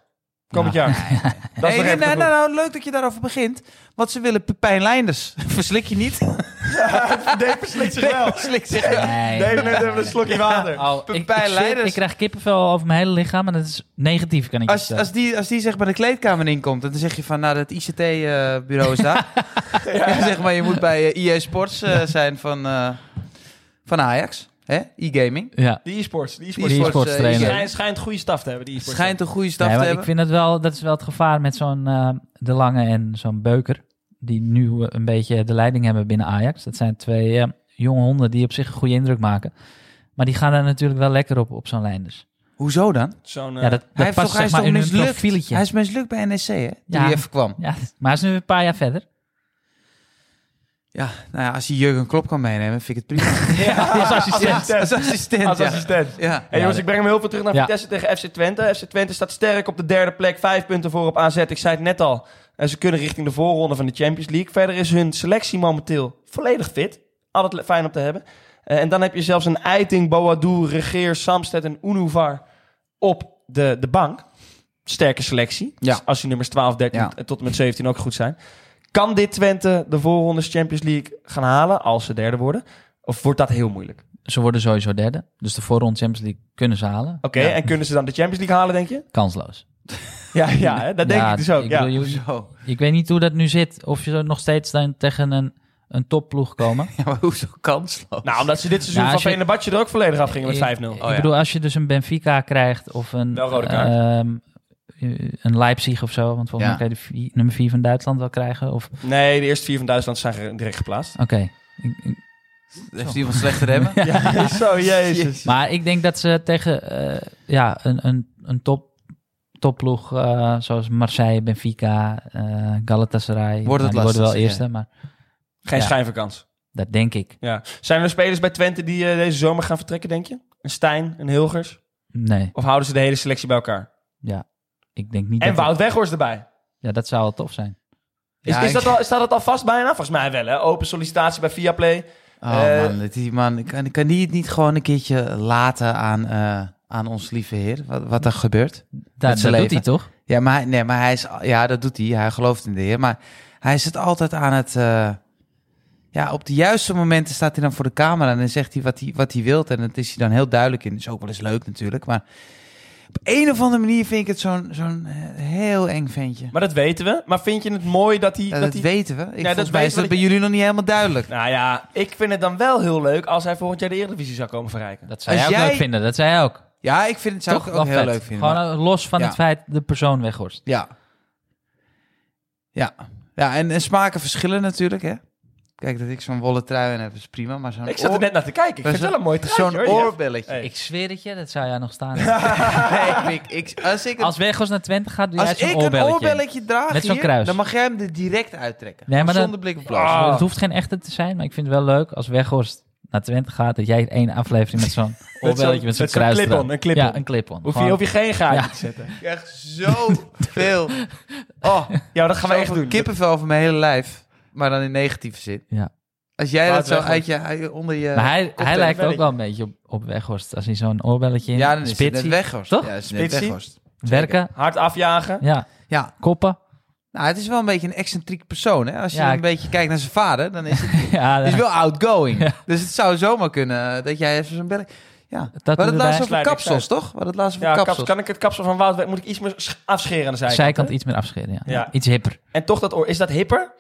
Speaker 2: Komend
Speaker 3: (laughs)
Speaker 2: jaar. Dat is
Speaker 3: Hey,
Speaker 2: nog
Speaker 3: nee,
Speaker 2: even
Speaker 3: nou,
Speaker 2: te vroeg.
Speaker 3: nou, leuk dat je daarover begint. Want ze willen Pepijn Leinders. (laughs) Verslik je niet?
Speaker 2: (laughs) Dave verslikt zich wel.
Speaker 3: (laughs) Verslik zich wel.
Speaker 1: Nee.
Speaker 2: Dave neemt even een slokje water.
Speaker 1: Oh, ik, ik,
Speaker 3: Pepijn
Speaker 1: zweer,
Speaker 3: Leiders.
Speaker 1: ik krijg kippenvel over mijn hele lichaam en dat is negatief, kan ik je
Speaker 3: Als,
Speaker 1: vertellen.
Speaker 3: als, die, als die zeg bij de kleedkamer inkomt, dan zeg je van, nou, dat ICT-bureau is
Speaker 2: (laughs)
Speaker 3: daar. (laughs) ja, zeg maar, je moet bij eh, EA Sports eh, zijn van, eh, van Ajax, hè? e-gaming.
Speaker 1: Ja.
Speaker 2: Die e-sports. Die e-sports.
Speaker 1: Die
Speaker 3: e-sports,
Speaker 1: e-sports
Speaker 3: eh,
Speaker 1: trainer.
Speaker 3: e-gaming.
Speaker 2: Schijnt, schijnt goede staf te hebben, die e-sports.
Speaker 3: Schijnt een goede staf
Speaker 1: Nee,
Speaker 3: te
Speaker 1: maar ik
Speaker 3: hebben.
Speaker 1: vind het wel, dat is wel het gevaar met zo'n eh, De Lange en zo'n Beuker. Die nu een beetje de leiding hebben binnen Ajax. Dat zijn twee eh, jonge honden die op zich een goede indruk maken. Maar die gaan daar natuurlijk wel lekker op, op zo'n lijn dus.
Speaker 3: Hoezo dan?
Speaker 2: Zo'n, eh,
Speaker 1: Ja, dat,
Speaker 3: hij,
Speaker 1: dat
Speaker 3: heeft
Speaker 1: past
Speaker 3: toch,
Speaker 1: zeg
Speaker 3: hij is
Speaker 1: maar
Speaker 3: toch
Speaker 1: in hun
Speaker 3: mislukt?
Speaker 1: profieletje.
Speaker 3: Hij is mislukt bij NEC, hè? Toen
Speaker 1: Ja.
Speaker 3: hij even kwam.
Speaker 1: Ja, maar hij is nu een paar jaar verder.
Speaker 3: Ja, nou ja, als hij Jurgen Klopp kan meenemen, vind ik het
Speaker 1: (laughs)
Speaker 3: prima.
Speaker 1: als assistent.
Speaker 3: Als assistent,
Speaker 2: Als
Speaker 3: ja.
Speaker 2: assistent.
Speaker 3: Ja.
Speaker 2: Hey, jongens, ik breng hem heel veel terug naar
Speaker 1: Ja.
Speaker 2: Vitesse tegen FC Twente. FC Twente staat sterk op de derde plek. Vijf punten voor op AZ. Ik zei het net al. En ze kunnen richting de voorronde van de Champions League. Verder is hun selectie momenteel volledig fit. Altijd le- fijn om te hebben. Eh, en dan heb je zelfs een Eiting, Boadu, Regeer, Samsted en Unuvar op de, de bank. Sterke selectie.
Speaker 3: Ja.
Speaker 2: Dus Als je nummers 12, 13
Speaker 3: Ja.
Speaker 2: en tot en met 17 ook goed zijn. Kan dit Twente de voorrondes Champions League gaan halen als ze derde worden? Of wordt dat heel moeilijk?
Speaker 1: Ze worden sowieso derde. Dus de voorronde Champions League kunnen ze halen.
Speaker 2: Oké, en kunnen ze dan de Champions League halen, denk je?
Speaker 1: Kansloos.
Speaker 2: Ja, ja hè? dat denk
Speaker 1: Ja,
Speaker 2: ik dus ook. ja.
Speaker 1: bedoel, je-
Speaker 3: Hoezo?
Speaker 1: ik weet niet hoe dat nu zit. Of je nog steeds dan tegen een, een topploeg komen.
Speaker 3: Ja, maar hoezo kansloos?
Speaker 2: Nou, omdat ze dit seizoen
Speaker 1: Nou,
Speaker 2: van
Speaker 1: als je-
Speaker 2: Fenerbahce er ook volledig afgingen met 5-0.
Speaker 1: Ik,
Speaker 3: Oh, ja.
Speaker 1: bedoel, als je dus een Benfica krijgt of een,
Speaker 2: Wel rode kaart.
Speaker 1: ehm, een Leipzig of zo. Want volgens mij
Speaker 3: Ja.
Speaker 1: kan je de vi- nummer 4 van Duitsland wel krijgen. Of, oké.
Speaker 2: Nee, de eerste vier van Duitsland zijn ge- direct geplaatst.
Speaker 1: Ik- ik-
Speaker 3: Heeft iemand
Speaker 1: (laughs)
Speaker 3: slechte remmen?
Speaker 2: (laughs) Ja, zo, jezus.
Speaker 1: Maar ik denk dat ze tegen eh, ja, een, een, een top, topploeg eh, zoals Marseille, Benfica, eh, Galatasaray.
Speaker 3: Wordt
Speaker 1: nou, die
Speaker 3: het
Speaker 1: worden
Speaker 3: lastig,
Speaker 1: wel
Speaker 3: zeg
Speaker 1: eerste,
Speaker 3: jij.
Speaker 1: maar
Speaker 2: Geen
Speaker 1: Ja.
Speaker 2: schijnvakantie.
Speaker 1: dat denk ik.
Speaker 2: Ja. Zijn er spelers bij Twente die eh, deze zomer gaan vertrekken, denk je? Een Stijn, een Hilgers?
Speaker 1: Nee,
Speaker 2: Of houden ze de hele selectie bij elkaar?
Speaker 1: ja. Ik denk niet
Speaker 2: En
Speaker 1: dat... het-
Speaker 2: Wout Weghorst erbij.
Speaker 1: ja, dat zou wel tof zijn.
Speaker 2: Is,
Speaker 3: Ja,
Speaker 2: is
Speaker 3: ik-
Speaker 2: dat al, staat dat al vast bijna? Volgens mij wel, hè? Open sollicitatie bij Viaplay.
Speaker 3: Oh
Speaker 2: Eh,
Speaker 3: man, dat die man, kan, kan die het niet gewoon een keertje laten aan, eh, aan ons lieve heer? Wat, wat er gebeurt?
Speaker 1: Dat,
Speaker 3: zijn
Speaker 1: dat doet
Speaker 3: leven.
Speaker 1: hij toch?
Speaker 3: Ja, maar, hij- nee, maar hij is, ja, dat doet hij. Hij gelooft in de heer. Maar hij zit altijd aan het... eh, ja, op de juiste momenten staat hij dan voor de camera en dan zegt hij wat hij, wat hij wilt. En dat is hij dan heel duidelijk in. Dat is ook wel eens leuk natuurlijk. Maar op een of andere manier vind ik het zo'n zo'n eh, heel eng ventje.
Speaker 2: Maar dat weten we. Maar vind je het mooi dat hij...
Speaker 3: Ja, dat
Speaker 2: dat hij...
Speaker 3: weten we. Ik,
Speaker 2: dat
Speaker 3: volgens mij
Speaker 2: weten we
Speaker 3: is dat
Speaker 2: dat
Speaker 3: bij jullie nog niet helemaal duidelijk.
Speaker 2: Nou ja, ik vind het dan wel heel leuk als hij volgend jaar de Eredivisie zou komen verrijken.
Speaker 1: Dat zou jij
Speaker 3: Als
Speaker 1: ook
Speaker 3: jij-
Speaker 1: leuk vinden. Dat zei hij ook.
Speaker 3: Ja, ik vind het zou
Speaker 1: toch
Speaker 3: ik
Speaker 1: wel
Speaker 3: ook heel
Speaker 1: vet.
Speaker 3: leuk vinden.
Speaker 1: Gewoon eh, los van
Speaker 3: Ja.
Speaker 1: het feit de persoon weghorst.
Speaker 3: Ja. Ja. Ja, en, en smaken verschillen natuurlijk, hè. Kijk, dat ik zo'n wollen trui in heb, is prima, maar zo'n
Speaker 2: Ik zat er
Speaker 3: oor-
Speaker 2: net naar te kijken. Ik
Speaker 3: Dat
Speaker 2: vind
Speaker 3: is
Speaker 2: het wel een mooi truitje,
Speaker 3: Zo'n
Speaker 2: hoor, Jeff.
Speaker 3: oorbelletje.
Speaker 2: Hey.
Speaker 1: Ik zweer het je, dat zou jij nog staan.
Speaker 3: Nee, Mick, ik, als ik, een-
Speaker 1: Als Weghorst naar Twente gaat, doe jij
Speaker 3: als
Speaker 1: zo'n
Speaker 3: ik
Speaker 1: oorbelletje.
Speaker 3: een oorbelletje draag
Speaker 1: Met zo'n
Speaker 3: hier,
Speaker 1: kruis.
Speaker 3: dan mag jij hem er direct uittrekken.
Speaker 1: Nee, maar dan-
Speaker 3: Zonder blik of bloos.
Speaker 2: Ah.
Speaker 1: Oh, Het hoeft geen echte te zijn, maar ik vind het wel leuk als Weghorst naar Twente gaat, dat jij één aflevering met zo'n oorbelletje, met zo'n
Speaker 2: met zo'n
Speaker 1: kruis
Speaker 2: clip-on,
Speaker 1: eraan.
Speaker 2: een clip-on.
Speaker 1: Ja, een clip-on.
Speaker 2: Hoef je,
Speaker 1: Gewoon-
Speaker 2: hoef je geen gaatje
Speaker 1: Ja.
Speaker 2: te zetten.
Speaker 3: Ik krijg
Speaker 1: (laughs)
Speaker 3: zoveel. Oh,
Speaker 2: Ja, dat gaan we echt
Speaker 3: zoveel
Speaker 2: doen.
Speaker 3: Kippenvel van mijn hele lijf, maar dan in negatieve zin.
Speaker 1: Ja.
Speaker 3: Als jij
Speaker 2: Laat
Speaker 3: dat zo
Speaker 2: weg, hoor.
Speaker 3: uit je, uit je- onder je...
Speaker 1: Maar hij, hij lijkt ook
Speaker 2: belletje.
Speaker 1: wel een beetje op, op Weghorst. Als hij zo'n oorbelletje in,
Speaker 3: ja, dan is het net
Speaker 1: spitsie,
Speaker 3: weghorst.
Speaker 1: toch?
Speaker 3: Ja, is het net
Speaker 2: Spitsie.
Speaker 3: weghorst.
Speaker 1: werken,
Speaker 2: Hard afjagen.
Speaker 1: ja,
Speaker 3: Ja,
Speaker 1: koppen.
Speaker 3: Nou, het is wel een beetje een excentriek persoon. Hè? Als je
Speaker 1: Ja,
Speaker 3: een
Speaker 1: ik-
Speaker 3: beetje kijkt naar zijn vader, dan is
Speaker 1: (laughs)
Speaker 3: het
Speaker 1: Ja,
Speaker 3: hij is wel outgoing.
Speaker 1: Ja.
Speaker 3: Dus het zou zomaar kunnen eh, dat jij even zo'n belletje... Ja,
Speaker 1: Dat
Speaker 3: we hadden het
Speaker 1: erbij.
Speaker 3: laatst over
Speaker 2: Sluit ik
Speaker 3: kapsels,
Speaker 2: uit.
Speaker 3: toch? We hadden het laatst over
Speaker 2: Ja,
Speaker 3: kapsels.
Speaker 2: kaps, kan ik het kapsel van Wout... Moet ik iets meer sch- afscheren aan de zijkant?
Speaker 1: Zijkant
Speaker 2: hè?
Speaker 1: iets meer afscheren, ja.
Speaker 2: Ja.
Speaker 1: Iets hipper.
Speaker 2: En toch dat oor. Is dat hipper?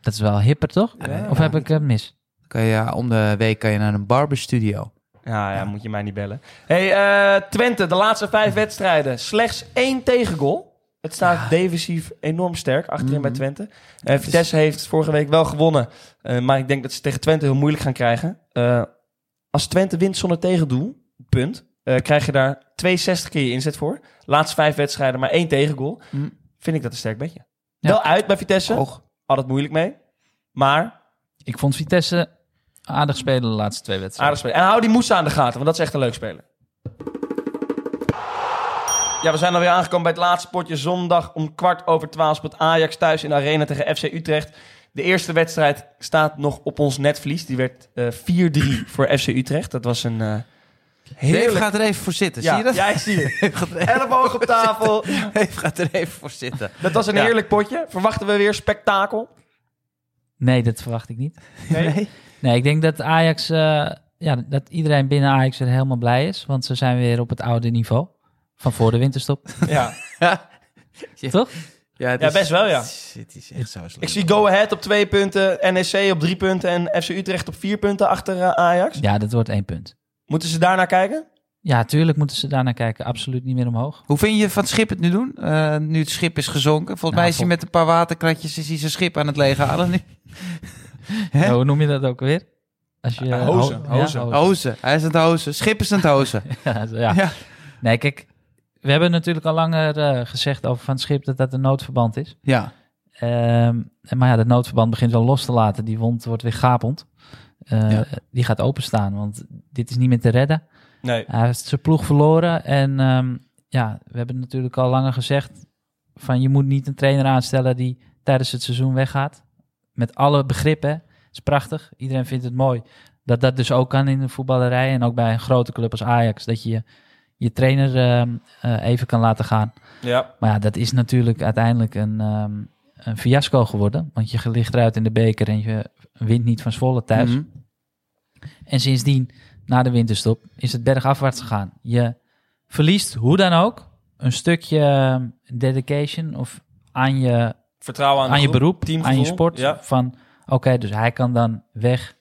Speaker 1: Dat is wel hipper, toch?
Speaker 2: Ja.
Speaker 1: Of heb ik het mis?
Speaker 3: Kan je, ja, om de week kan je naar een barberstudio.
Speaker 2: Ja, ja, moet je mij niet bellen. hey, eh, Twente, de laatste vijf wedstrijden. Slechts één tegengoal. Het staat defensief enorm sterk achterin bij Twente. Eh Vitesse heeft vorige week wel gewonnen. eh, maar ik denk dat ze tegen Twente heel moeilijk gaan krijgen. Eh, als Twente wint zonder tegendoel, punt, eh, krijg je daar 62 keer je inzet voor. Laatste vijf wedstrijden, maar één tegengoal.
Speaker 3: Mhm.
Speaker 2: Vind ik dat een sterk beetje.
Speaker 1: Ja.
Speaker 2: Wel uit bij Vitesse.
Speaker 3: Hoog.
Speaker 2: Altijd moeilijk mee. Maar
Speaker 1: Ik vond Vitesse aardig spelen de laatste twee wedstrijden.
Speaker 2: aardig spelen. En hou die Moussa aan de gaten, want dat is echt een leuk speler. Ja, we zijn alweer aangekomen bij het laatste potje. Zondag om kwart over twaalf speelt Ajax thuis in de arena tegen FC Utrecht. De eerste wedstrijd staat nog op ons netvlies. Die werd eh, 4-3 voor FC Utrecht. Dat was een eh
Speaker 3: Dave
Speaker 2: heerlijk...
Speaker 3: gaat er even voor zitten.
Speaker 2: Ja,
Speaker 3: Zie je dat? (laughs)
Speaker 2: Ja, ik zie het.
Speaker 3: Gaat er even-
Speaker 2: Elleboog op tafel.
Speaker 3: Dave gaat er even voor zitten.
Speaker 2: Dat was een
Speaker 3: Ja.
Speaker 2: heerlijk potje. Verwachten we weer spektakel?
Speaker 1: Nee, dat verwacht ik niet.
Speaker 2: Nee.
Speaker 1: Nee, ik denk dat Ajax, eh, ja, dat iedereen binnen Ajax er helemaal blij is. Want ze zijn weer op het oude niveau. Van voor de winterstop,
Speaker 2: Ja.
Speaker 1: toch?
Speaker 3: het
Speaker 2: Ja, best wel, ja.
Speaker 3: Shit, die is echt zo slecht.
Speaker 2: Ik zie Go Ahead op twee punten, NEC op drie punten en FC Utrecht op vier punten achter eh, Ajax.
Speaker 1: Ja, dat wordt één punt.
Speaker 2: Moeten ze daarnaar kijken?
Speaker 1: Ja, tuurlijk moeten ze daarnaar kijken. Absoluut niet meer omhoog.
Speaker 3: Hoe vind je van het schip het nu doen? Eh, nu het schip is gezonken. Volgens mij is hij
Speaker 1: vol-
Speaker 3: met een paar waterkratjes is hij zijn schip aan het leeghalen (laughs) nu. Hè?
Speaker 1: Ja, hoe noem je dat ook weer? Als je,
Speaker 2: Ja, hozen,
Speaker 1: ho-
Speaker 2: hozen.
Speaker 1: ja,
Speaker 3: (laughs) Hozen. Hij is aan het hozen. Schip is aan het hozen.
Speaker 1: (laughs) Ja, zo, ja.
Speaker 3: Oh. Ja.
Speaker 1: Nee, kijk, we hebben natuurlijk al langer eh, gezegd over Van het Schip dat dat een noodverband is.
Speaker 3: Ja,
Speaker 1: Ehm, en maar ja, dat noodverband begint wel los te laten. Die wond wordt weer gapend. Eh,
Speaker 3: Ja.
Speaker 1: Die gaat openstaan, want dit is niet meer te redden.
Speaker 2: Nee.
Speaker 1: Hij heeft zijn ploeg verloren. En ehm, ja, we hebben natuurlijk al langer gezegd... van je moet niet een trainer aanstellen die tijdens het seizoen weggaat. Met alle begrippen. Het is prachtig. Iedereen vindt het mooi. Dat dat dus ook kan in de voetballerij. En ook bij een grote club als Ajax. Dat je je trainer ehm, eh, even kan laten gaan.
Speaker 2: Ja.
Speaker 1: Maar ja, dat is natuurlijk uiteindelijk een, ehm, een fiasco geworden. Want je ligt eruit in de beker en je wint niet van Zwolle thuis.
Speaker 3: Mhm.
Speaker 1: En sindsdien, na de winterstop, is het bergafwaarts gegaan. Je verliest hoe dan ook een stukje ehm, dedication of aan je,
Speaker 2: Vertrouwen aan,
Speaker 1: aan
Speaker 2: de
Speaker 1: je
Speaker 2: groep,
Speaker 1: beroep, aan
Speaker 2: teamgevoel.
Speaker 1: je sport.
Speaker 2: Ja.
Speaker 1: Van oké, dus hij kan dan weg.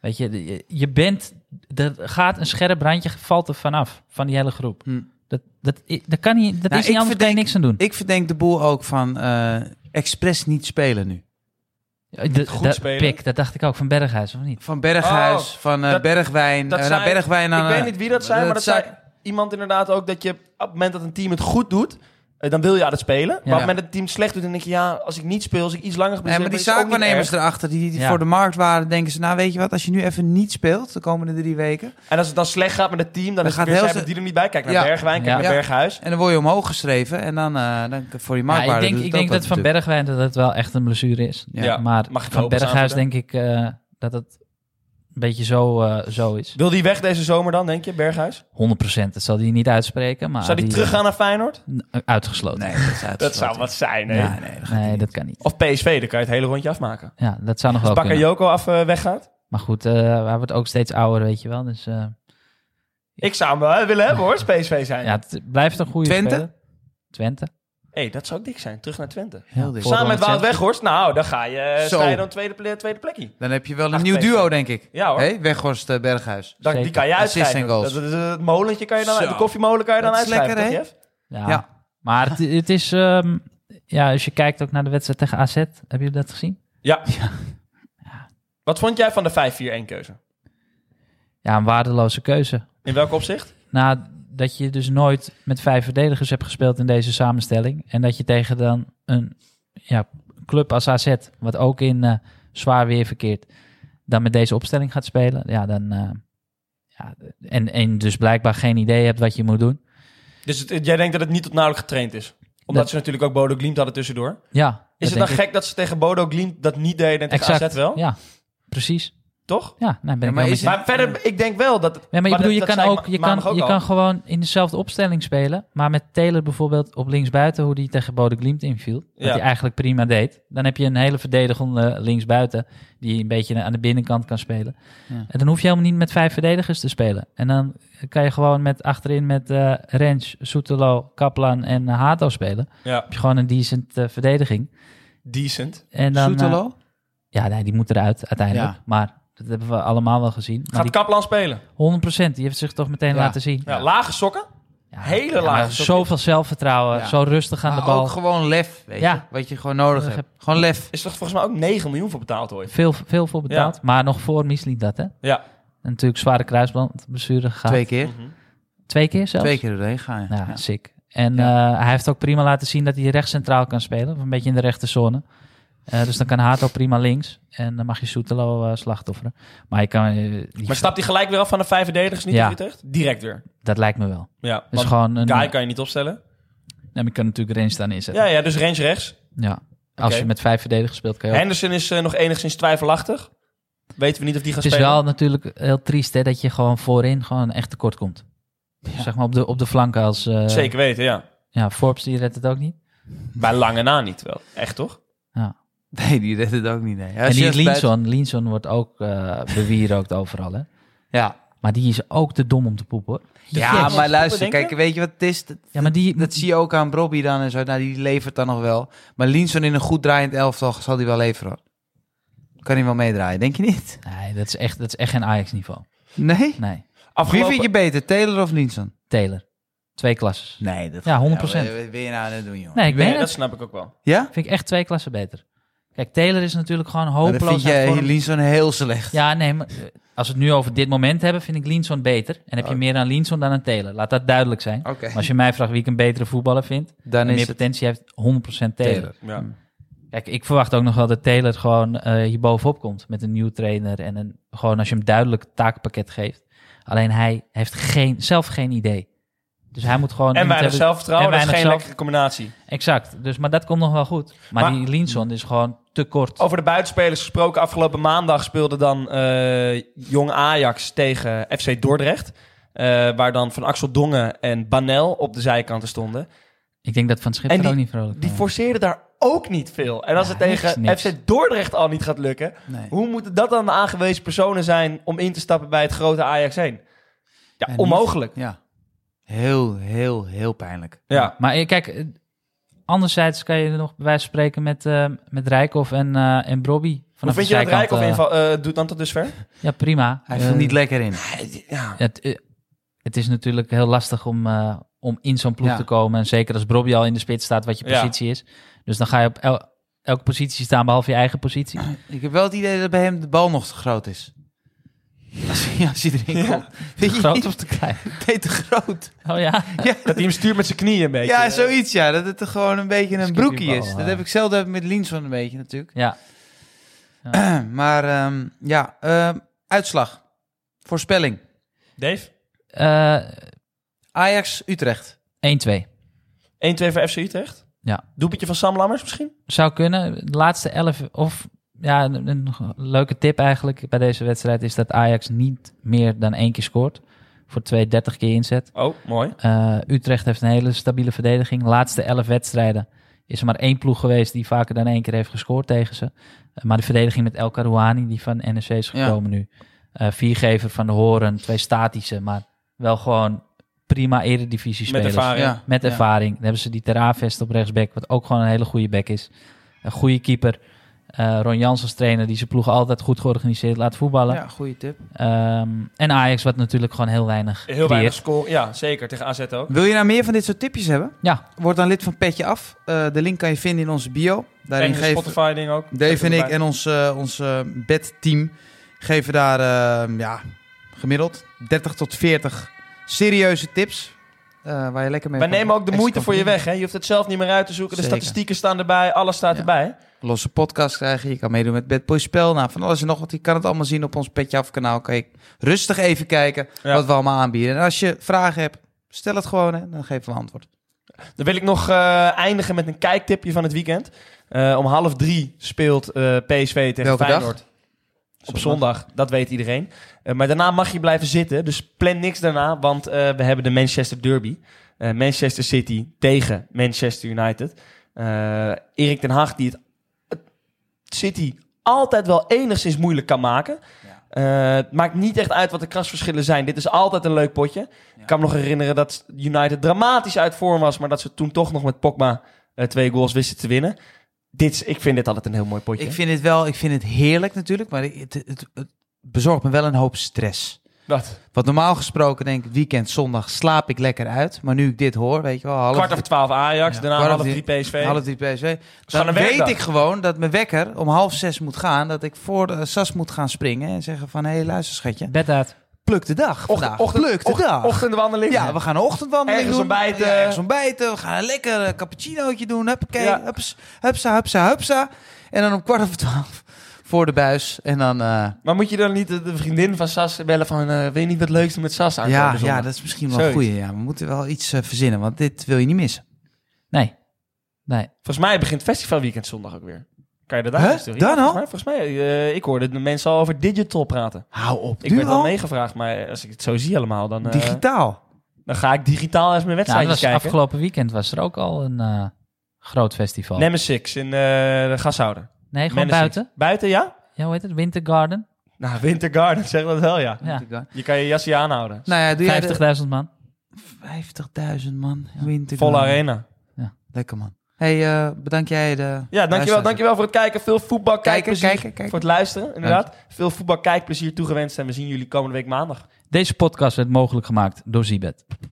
Speaker 1: Weet je, de- je- je bent, er gaat een scherp brandje, valt er vanaf, van die hele groep.
Speaker 3: Hm.
Speaker 1: Dat, dat, i- dat kan niet, dat
Speaker 3: Nou,
Speaker 1: is niet
Speaker 3: ik
Speaker 1: anders, kan je
Speaker 3: verdenk-
Speaker 1: niks aan doen.
Speaker 3: ik verdenk de boel ook van eh, expres niet spelen nu.
Speaker 1: Ja, de-
Speaker 2: Goed
Speaker 1: dat-
Speaker 2: spelen.
Speaker 1: Pik, dat dacht ik ook van Berghuis, of niet?
Speaker 3: Van Berghuis,
Speaker 2: Oh,
Speaker 3: van eh,
Speaker 2: dat-
Speaker 3: Bergwijn.
Speaker 2: dat
Speaker 3: eh,
Speaker 2: zei-
Speaker 3: naar Bergwijn aan,
Speaker 2: ik weet
Speaker 3: eh,
Speaker 2: niet wie dat zei, maar dat
Speaker 3: zei-
Speaker 2: zei iemand inderdaad ook dat je op het moment dat een team het goed doet, eh, dan wil je aan het spelen. Maar op het moment dat het team het slecht doet, dan denk je ja, als ik niet speel, als ik iets langer ben,
Speaker 3: Nee, maar die zaakwaarnemers erachter, die, die
Speaker 1: Ja.
Speaker 3: voor de markt waren, denken ze... nou, weet je wat, als je nu even niet speelt de komende drie weken...
Speaker 2: En als het dan slecht gaat met het team, dan, is
Speaker 3: gaat
Speaker 2: het weer
Speaker 3: heel
Speaker 2: zij
Speaker 3: snel-
Speaker 2: die er niet bij. Kijk naar
Speaker 3: Ja.
Speaker 2: Bergwijn, kijk
Speaker 1: Ja.
Speaker 2: naar
Speaker 3: Ja.
Speaker 2: Berghuis.
Speaker 3: en dan word je omhoog geschreven en dan, eh, dan voor die
Speaker 1: Ja,
Speaker 3: marktwaarde
Speaker 1: ik denk,
Speaker 3: doet het
Speaker 1: ik denk
Speaker 3: ook
Speaker 1: dat
Speaker 3: wat
Speaker 1: Van Bergwijn dat het wel echt een blessure is.
Speaker 3: Ja.
Speaker 2: Ja.
Speaker 1: maar
Speaker 2: Mag ik
Speaker 1: van
Speaker 2: hopen,
Speaker 1: Berghuis
Speaker 2: Zaterdag?
Speaker 1: denk ik eh, dat het een beetje zo, eh, zo is. 100%.
Speaker 2: Wil die weg deze zomer dan, denk je, Berghuis?
Speaker 1: Dat zal hij niet uitspreken. Maar
Speaker 2: Zou die teruggaan naar Feyenoord?
Speaker 1: eh, Uitgesloten.
Speaker 3: natuurlijk. Nee, dat
Speaker 2: (laughs)
Speaker 3: is
Speaker 2: Dat zou
Speaker 3: uitgesloten.
Speaker 2: wat zijn, hè?
Speaker 1: Ja,
Speaker 3: nee, dat
Speaker 1: nee, dat kan niet.
Speaker 2: Of PSV, dan kan je het hele rondje afmaken.
Speaker 1: Ja, dat zou nog
Speaker 2: Als
Speaker 1: wel kunnen.
Speaker 2: Bakayoko af eh, weggaat.
Speaker 1: Maar goed, eh, hij wordt ook steeds ouder, weet je wel. Dus eh,
Speaker 2: Ik zou hem wel eh, willen hebben hoor, als PSV zijn.
Speaker 1: ja, het blijft een goede
Speaker 3: Twente?
Speaker 1: speler. Twente?
Speaker 2: hey, dat zou dik zijn. Terug naar Twente.
Speaker 3: Heel dik.
Speaker 1: Voor-
Speaker 2: Samen met Wout
Speaker 1: Champions.
Speaker 2: Weghorst, nou, dan ga je, eh,
Speaker 3: Zo.
Speaker 2: sta je dan tweede, ple- tweede plekje.
Speaker 3: Dan heb je wel een
Speaker 2: Acht
Speaker 3: nieuw
Speaker 2: tegen.
Speaker 3: duo, denk ik.
Speaker 2: Ja, hoor.
Speaker 3: Hey, Weghorst, eh, Berghuis.
Speaker 2: Dan, die
Speaker 1: Zeker.
Speaker 2: kan je
Speaker 3: Assists en
Speaker 2: uitschrijven.
Speaker 3: goals.
Speaker 2: Dat, dat- dat- het molentje kan je dan,
Speaker 3: Zo.
Speaker 2: de koffiemolen kan je dan
Speaker 3: Dat is
Speaker 2: uitschrijven,
Speaker 3: lekker,
Speaker 2: toch, Jeff?
Speaker 1: Ja.
Speaker 3: Ja.
Speaker 1: Maar het, het is... ehm, ja, als je kijkt ook naar de wedstrijd tegen AZ. Hebben jullie dat gezien?
Speaker 2: Ja. Wat vond jij van de 5-4-1 keuze?
Speaker 1: Ja, een waardeloze keuze.
Speaker 2: In welk opzicht?
Speaker 1: Nou, dat je dus nooit met vijf verdedigers hebt gespeeld in deze samenstelling. En dat je tegen dan een ja, club als AZ, wat ook in eh, zwaar weer verkeert, dan met deze opstelling gaat spelen. Ja, dan, eh, ja, en, en dus blijkbaar geen idee hebt wat je moet doen.
Speaker 2: Dus het- jij denkt dat het niet tot nauwelijks getraind is? Omdat
Speaker 1: Dat-
Speaker 2: ze natuurlijk ook Bodo Glimt hadden tussendoor.
Speaker 1: Ja,
Speaker 2: Is
Speaker 1: dat
Speaker 2: het dan
Speaker 1: denk ik.
Speaker 2: gek dat ze tegen Bodo Glimt dat niet deden en tegen
Speaker 1: Exact.
Speaker 2: AZ wel?
Speaker 1: Ja, precies.
Speaker 2: Toch?
Speaker 1: Ja, nee, ben
Speaker 3: Ja,
Speaker 1: ik
Speaker 3: maar
Speaker 1: wel
Speaker 3: is
Speaker 1: met je.
Speaker 3: het-
Speaker 2: Maar verder, ik denk wel dat...
Speaker 1: Ja, maar ik
Speaker 2: maar
Speaker 1: bedoel,
Speaker 2: dat-
Speaker 1: je
Speaker 2: dat
Speaker 1: kan,
Speaker 2: zei ik
Speaker 1: ook, je,
Speaker 2: ma- maandag
Speaker 1: kan,
Speaker 2: ook
Speaker 1: je
Speaker 2: al.
Speaker 1: kan gewoon in dezelfde opstelling spelen. Maar met Taylor bijvoorbeeld op linksbuiten, hoe die tegen Bode Glimt inviel. Wat
Speaker 2: Ja.
Speaker 1: hij eigenlijk prima deed. Dan heb je een hele verdedigende linksbuiten. Die een beetje aan de binnenkant kan spelen.
Speaker 3: Ja.
Speaker 1: En dan hoef je helemaal niet met vijf verdedigers te spelen. En dan kan je gewoon met achterin met eh Rens, Soetelo, Kaplan en eh, Hato spelen. Dan
Speaker 2: Ja,
Speaker 1: heb je gewoon een decent eh, verdediging.
Speaker 2: decent.
Speaker 1: En dan, eh,
Speaker 3: Soetelo?
Speaker 1: ja, nee, die moet eruit uiteindelijk.
Speaker 3: Ja.
Speaker 1: Maar dat hebben we allemaal wel gezien. Maar
Speaker 2: Gaat Kaplan spelen?
Speaker 1: die 100% die heeft zich toch meteen
Speaker 3: Ja.
Speaker 1: laten zien.
Speaker 2: Ja, Lage sokken?
Speaker 1: Ja,
Speaker 2: Hele
Speaker 1: maar
Speaker 2: lage sok.
Speaker 1: Zoveel zelfvertrouwen,
Speaker 3: Ja.
Speaker 1: zo rustig aan de
Speaker 3: Maar
Speaker 1: bal.
Speaker 3: ook gewoon lef, weet
Speaker 1: Ja.
Speaker 3: je. Wat je gewoon nodig
Speaker 1: Nodig
Speaker 3: hebt. Gewoon lef.
Speaker 2: Is er volgens mij ook 9 miljoen voor betaald ooit?
Speaker 1: Veel, veel voor betaald,
Speaker 2: Ja.
Speaker 1: maar nog voor Misliet dat, hè?
Speaker 2: Ja.
Speaker 1: En natuurlijk zware kruisbandblessure gegaan.
Speaker 3: Twee keer.
Speaker 1: Twee keer zelfs?
Speaker 3: Twee keer doorheen gaan.
Speaker 1: Ja,
Speaker 3: Ja.
Speaker 1: sick. En eh, hij heeft ook prima laten zien dat hij rechts centraal kan spelen. Of een beetje in de rechte zone. Eh, dus dan kan Hato prima links. En dan mag je Soetelo eh, slachtofferen. Maar, je kan, eh, die-
Speaker 2: Maar stapt hij gelijk weer af van de vijf verdedigers niet
Speaker 1: Ja.
Speaker 2: tegen Utrecht? Direct weer.
Speaker 1: dat lijkt me wel.
Speaker 2: Ja, want
Speaker 1: Dus gewoon een...
Speaker 2: Guy kan je niet opstellen.
Speaker 1: Nee, maar je kan natuurlijk Rens staan inzetten.
Speaker 2: Ja,
Speaker 1: Ja.
Speaker 2: ja, dus range rechts.
Speaker 1: Als
Speaker 2: Oké.
Speaker 1: je met vijf verdedigers speelt, kan je ook
Speaker 2: Henderson is eh, nog enigszins twijfelachtig. Weten we niet of die gaat
Speaker 1: Het is
Speaker 2: spelen.
Speaker 1: wel natuurlijk heel triest hè, dat je gewoon voorin gewoon echt tekort komt. Zeg maar op de, op de flanken als... eh,
Speaker 2: Zeker weten, ja.
Speaker 1: Ja, Forbes die redt het ook niet.
Speaker 2: Bij lange na niet wel. Echt toch?
Speaker 3: (laughs) Nee, die redt het ook niet. Nee.
Speaker 1: en
Speaker 3: Als je
Speaker 1: die
Speaker 3: als buiten-
Speaker 1: Linson, Linson wordt ook eh bewierookt overal hè.
Speaker 3: Ja,
Speaker 1: Maar die is ook te dom om te poepen hoor.
Speaker 3: Ja,
Speaker 2: Yes.
Speaker 3: maar luister,
Speaker 2: Denk je?
Speaker 3: kijk, weet je wat het is? Dat,
Speaker 1: Ja, maar die...
Speaker 3: dat zie je ook aan Bobby dan en zo. Nou, die levert dan nog wel. Maar Linson in een goed draaiend elftal zal die wel leveren. hoor. Kan hij wel meedraaien, denk je niet?
Speaker 1: Nee, dat is echt, dat is echt geen Ajax niveau.
Speaker 3: Nee?
Speaker 1: Nee,
Speaker 3: Wie
Speaker 2: Afgelopen...
Speaker 3: vind je beter, Taylor of Linson?
Speaker 1: Taylor. Twee klasses.
Speaker 3: Nee, dat
Speaker 1: Ja, 100%.
Speaker 3: wat wil je nou aan het doen, jongen?
Speaker 1: Nee, ik
Speaker 2: Nee,
Speaker 1: meen
Speaker 2: dat
Speaker 1: het.
Speaker 2: snap ik ook wel.
Speaker 3: Ja?
Speaker 1: Vind ik echt twee klassen beter. Kijk, Taylor is natuurlijk gewoon
Speaker 3: Maar dan
Speaker 1: hopeloos.
Speaker 3: vind
Speaker 1: uit
Speaker 3: je
Speaker 1: vorm.
Speaker 3: Linson heel slecht.
Speaker 1: Ja, nee, maar eh, als we het nu over dit moment hebben, vind ik Linson beter. En
Speaker 3: Oh.
Speaker 1: heb je meer aan Linson dan aan Taylor. Laat dat duidelijk zijn.
Speaker 3: Oké.
Speaker 1: Maar als je mij vraagt wie ik een betere voetballer vind,
Speaker 3: Dan
Speaker 1: en
Speaker 3: is
Speaker 1: meer
Speaker 3: het
Speaker 1: potentie heeft, 100% Taylor.
Speaker 2: Ja.
Speaker 3: Taylor.
Speaker 1: Kijk, ik verwacht ook nog wel dat Taylor gewoon eh hierbovenop komt met een nieuwe trainer. En een, gewoon als je hem duidelijk taakpakket geeft. Alleen hij heeft geen, zelf geen idee. Dus hij moet gewoon...
Speaker 2: En
Speaker 1: iemand
Speaker 2: weinig
Speaker 1: hebben- en
Speaker 2: zelfvertrouwen, dat is geen
Speaker 1: weinig
Speaker 2: lekkere combinatie.
Speaker 1: Exact. Dus, maar dat komt nog wel goed. Maar,
Speaker 2: Maar-
Speaker 1: die Linson is gewoon te kort.
Speaker 2: Over de buitenspelers gesproken, afgelopen maandag speelde dan eh, Jong Ajax tegen FC Dordrecht. Eh, waar dan Van Axel Dongen en Banel op de zijkanten stonden.
Speaker 1: Ik denk dat Van Schip
Speaker 2: En
Speaker 1: er
Speaker 2: die-
Speaker 1: ook niet vrolijk
Speaker 2: Die
Speaker 1: van wordt.
Speaker 2: forceerden daar ook niet veel. En als
Speaker 1: Ja,
Speaker 2: het tegen
Speaker 1: niks, niks.
Speaker 2: FC Dordrecht al niet gaat lukken,
Speaker 3: Nee.
Speaker 2: hoe moeten dat dan de aangewezen personen zijn om in te stappen bij het grote Ajax heen? Ja,
Speaker 3: En niet-
Speaker 2: onmogelijk.
Speaker 3: Ja. Heel, heel, heel pijnlijk.
Speaker 2: Ja.
Speaker 1: Maar eh, kijk, eh, anderzijds kan je er nog bij wijze van spreken met, eh met Rijkoff en, eh en Brobby.
Speaker 2: Hoe
Speaker 1: Vanaf
Speaker 2: vind
Speaker 1: de
Speaker 2: je dat
Speaker 1: zijkant,
Speaker 2: Rijkoff
Speaker 1: eh,
Speaker 2: inval, eh, doet dan tot dusver?
Speaker 1: Ja, prima.
Speaker 3: Hij
Speaker 1: Eh,
Speaker 3: viel niet lekker in.
Speaker 2: Ja.
Speaker 1: Het, eh, het is natuurlijk heel lastig om, eh, om in zo'n ploeg
Speaker 3: Ja.
Speaker 1: te komen. En zeker als Brobby al in de spits staat, wat je
Speaker 2: Ja.
Speaker 1: positie is. Dus dan ga je op el- elke positie staan, behalve je eigen positie.
Speaker 3: Ik heb wel het idee dat bij hem de bal nog te groot is. Als, hij- als hij erin komt.
Speaker 1: Te groot of te klein?
Speaker 3: (laughs) Nee, te groot.
Speaker 1: Oh ja.
Speaker 2: Dat hij hem stuurt met zijn knieën een beetje. eh.
Speaker 3: Ja, zoiets ja. Dat het er gewoon een beetje een
Speaker 1: Skippy
Speaker 3: broekje
Speaker 1: eh, bal, eh.
Speaker 3: is. Dat
Speaker 1: ja.
Speaker 3: heb ik zelden met Linson een beetje natuurlijk. (clears throat)
Speaker 1: ja.
Speaker 3: Maar ehm, ja, ehm, uitslag. Voorspelling.
Speaker 2: Dave? 1-2
Speaker 1: Eh,
Speaker 3: Ajax-Utrecht.
Speaker 1: 1-2.
Speaker 2: voor FC Utrecht?
Speaker 1: Ja.
Speaker 2: Doepetje van Sam Lammers misschien?
Speaker 1: Zou kunnen. De laatste elf of... Ja, een, een leuke tip eigenlijk bij deze wedstrijd is dat Ajax niet meer dan één keer scoort. Voor 2,30 keer inzet.
Speaker 2: Oh, mooi.
Speaker 1: Eh, Utrecht heeft een hele stabiele verdediging. Laatste elf wedstrijden is er maar één ploeg geweest die vaker dan één keer heeft gescoord tegen ze. Eh, maar de verdediging met El Karouani, die van NEC is
Speaker 3: Ja.
Speaker 1: gekomen nu. Eh, viergever van de Horen, twee statische, maar wel gewoon prima eredivisie
Speaker 2: Met
Speaker 1: spelers.
Speaker 2: ervaring.
Speaker 3: Ja.
Speaker 1: Met
Speaker 3: ja.
Speaker 1: ervaring. Dan hebben ze die Teravest op rechtsback, wat ook gewoon een hele goede back is. Een goede keeper. Eh, Ron Jans als trainer, die zijn ploeg altijd goed georganiseerd laat voetballen.
Speaker 3: Ja, goede tip.
Speaker 1: Ehm, en Ajax, wat natuurlijk gewoon heel weinig
Speaker 2: Heel weinig
Speaker 1: creëert.
Speaker 2: score. Ja, zeker. Tegen AZ ook.
Speaker 3: Wil je nou meer van dit soort tipjes hebben?
Speaker 1: Ja,
Speaker 3: Word dan lid van Petje Af. Eh, de link kan je vinden in onze bio. Daarin
Speaker 2: En de
Speaker 3: geven
Speaker 2: Spotify-ding ook.
Speaker 3: Dave en ik
Speaker 2: Erbij.
Speaker 3: en ons, eh, ons eh, bedteam geven daar eh, ja, gemiddeld 30 tot 40 serieuze tips. eh, waar je lekker mee
Speaker 2: Wij
Speaker 3: kan-
Speaker 2: nemen ook de
Speaker 3: extra
Speaker 2: moeite
Speaker 3: kan
Speaker 2: voor je
Speaker 3: verdienen.
Speaker 2: weg. Hè? Je hoeft het zelf niet meer uit te zoeken. De
Speaker 3: Zeker.
Speaker 2: statistieken staan erbij. Alles staat
Speaker 3: Ja.
Speaker 2: erbij.
Speaker 3: Losse podcast krijgen. Je kan meedoen met Bad Boy Spel. Nou, van alles en nog wat. Je kan het allemaal zien op ons Petje Af kanaal. Kan je rustig even kijken
Speaker 2: Ja.
Speaker 3: wat we allemaal aanbieden. En als je vragen hebt, stel het gewoon. Hè, dan geven we antwoord.
Speaker 2: Dan wil ik nog eh, eindigen met een kijktipje van het weekend. Eh, om half drie speelt eh, PSV tegen
Speaker 3: Welke dag?
Speaker 2: Feyenoord. Op zondag, dat weet iedereen. Eh, maar daarna mag je blijven zitten. Dus plan niks daarna, want eh, we hebben de Manchester Derby. Eh, Manchester City tegen Manchester United. Eh, Erik ten Hag die het, het City altijd wel enigszins moeilijk kan maken. Eh, het maakt niet echt uit wat de krasverschillen zijn. Dit is altijd een leuk potje. Ik kan me nog herinneren dat United dramatisch uit vorm was... maar dat ze toen toch nog met Pogba eh, twee goals wisten te winnen. Dit, is- ik vind dit altijd een heel mooi potje.
Speaker 3: Ik vind het wel, ik vind het heerlijk natuurlijk. Maar het, het, het bezorgt me wel een hoop stress.
Speaker 2: dat.
Speaker 3: Want normaal gesproken denk ik, weekend, zondag slaap ik lekker uit. Maar nu ik dit hoor, weet je wel, half,
Speaker 2: Kwart over twaalf Ajax,
Speaker 3: Ja.
Speaker 2: daarna
Speaker 3: Kwart
Speaker 2: half
Speaker 3: over
Speaker 2: drie PSV.
Speaker 3: half drie PSV,
Speaker 2: gewoon
Speaker 3: dan
Speaker 2: een
Speaker 3: weet
Speaker 2: werkdag.
Speaker 3: ik gewoon dat mijn wekker om half zes moet gaan. Dat ik voor de sas moet gaan springen en zeggen van, hé hey, luister schatje,
Speaker 1: bed uit.
Speaker 3: pluk de dag vandaag. pluk de
Speaker 2: ochtend-
Speaker 3: dag.
Speaker 2: Ochtendwandeling.
Speaker 3: ja, we gaan een ochtendwandeling
Speaker 2: Ergens
Speaker 3: doen.
Speaker 2: ontbijten.
Speaker 3: Ja, ergens ontbijten. We gaan een lekker eh, cappuccinootje doen. Huppakee.
Speaker 2: Ja.
Speaker 3: Hups, hupsa, hupsa, hupsa. En dan om kwart over twaalf (laughs) voor de buis. En dan... eh,
Speaker 2: Maar moet je dan niet de de vriendin van Sas bellen van... eh weet je niet wat leuks doen met Sas aan
Speaker 3: ja, ja, dat is misschien wel een
Speaker 2: Zoiets.
Speaker 3: goeie. Ja. We moeten wel iets eh, verzinnen, want dit wil je niet missen.
Speaker 1: Nee. Nee. Nou,
Speaker 2: Volgens mij begint festivalweekend zondag ook weer. Kan je dat
Speaker 3: Hè?
Speaker 2: daar doen?
Speaker 3: Dan al?
Speaker 2: Volgens mij, volgens mij eh, ik hoorde de mensen al over digital praten.
Speaker 3: Hou op.
Speaker 2: Ik
Speaker 3: nu
Speaker 2: ben wel
Speaker 3: al?
Speaker 2: meegevraagd, maar als ik het zo zie allemaal, dan, eh,
Speaker 3: Digitaal.
Speaker 2: dan ga ik digitaal eens mijn
Speaker 1: Ja, dat
Speaker 2: wedstrijdjes
Speaker 1: was
Speaker 2: kijken.
Speaker 1: afgelopen weekend was er ook al een eh, groot festival. Nee,
Speaker 2: Nemesis in eh, de gashouder.
Speaker 1: gewoon
Speaker 2: Nemesis.
Speaker 1: buiten.
Speaker 2: Buiten, ja?
Speaker 1: Ja, hoe heet het? Winter Garden.
Speaker 2: Nou, Winter Garden, zeg dat wel, ja.
Speaker 1: Ja.
Speaker 2: Je kan je jasje aanhouden.
Speaker 3: Nou ja, doe jij de-
Speaker 1: 50.000 man.
Speaker 3: 50.000 man. Winter
Speaker 2: Volle
Speaker 3: Garden.
Speaker 2: arena.
Speaker 3: Lekker man. hey, eh, bedankt jij de...
Speaker 2: Ja, dankjewel,
Speaker 3: luisteraars.
Speaker 2: dankjewel voor het kijken. Veel voetbal
Speaker 3: Kijken,
Speaker 2: kijkplezier.
Speaker 3: kijken, kijken.
Speaker 2: Voor het luisteren, inderdaad. Veel voetbal kijkplezier toegewenst. En we zien jullie komende week maandag.
Speaker 1: Deze podcast werd mogelijk gemaakt door Zibet.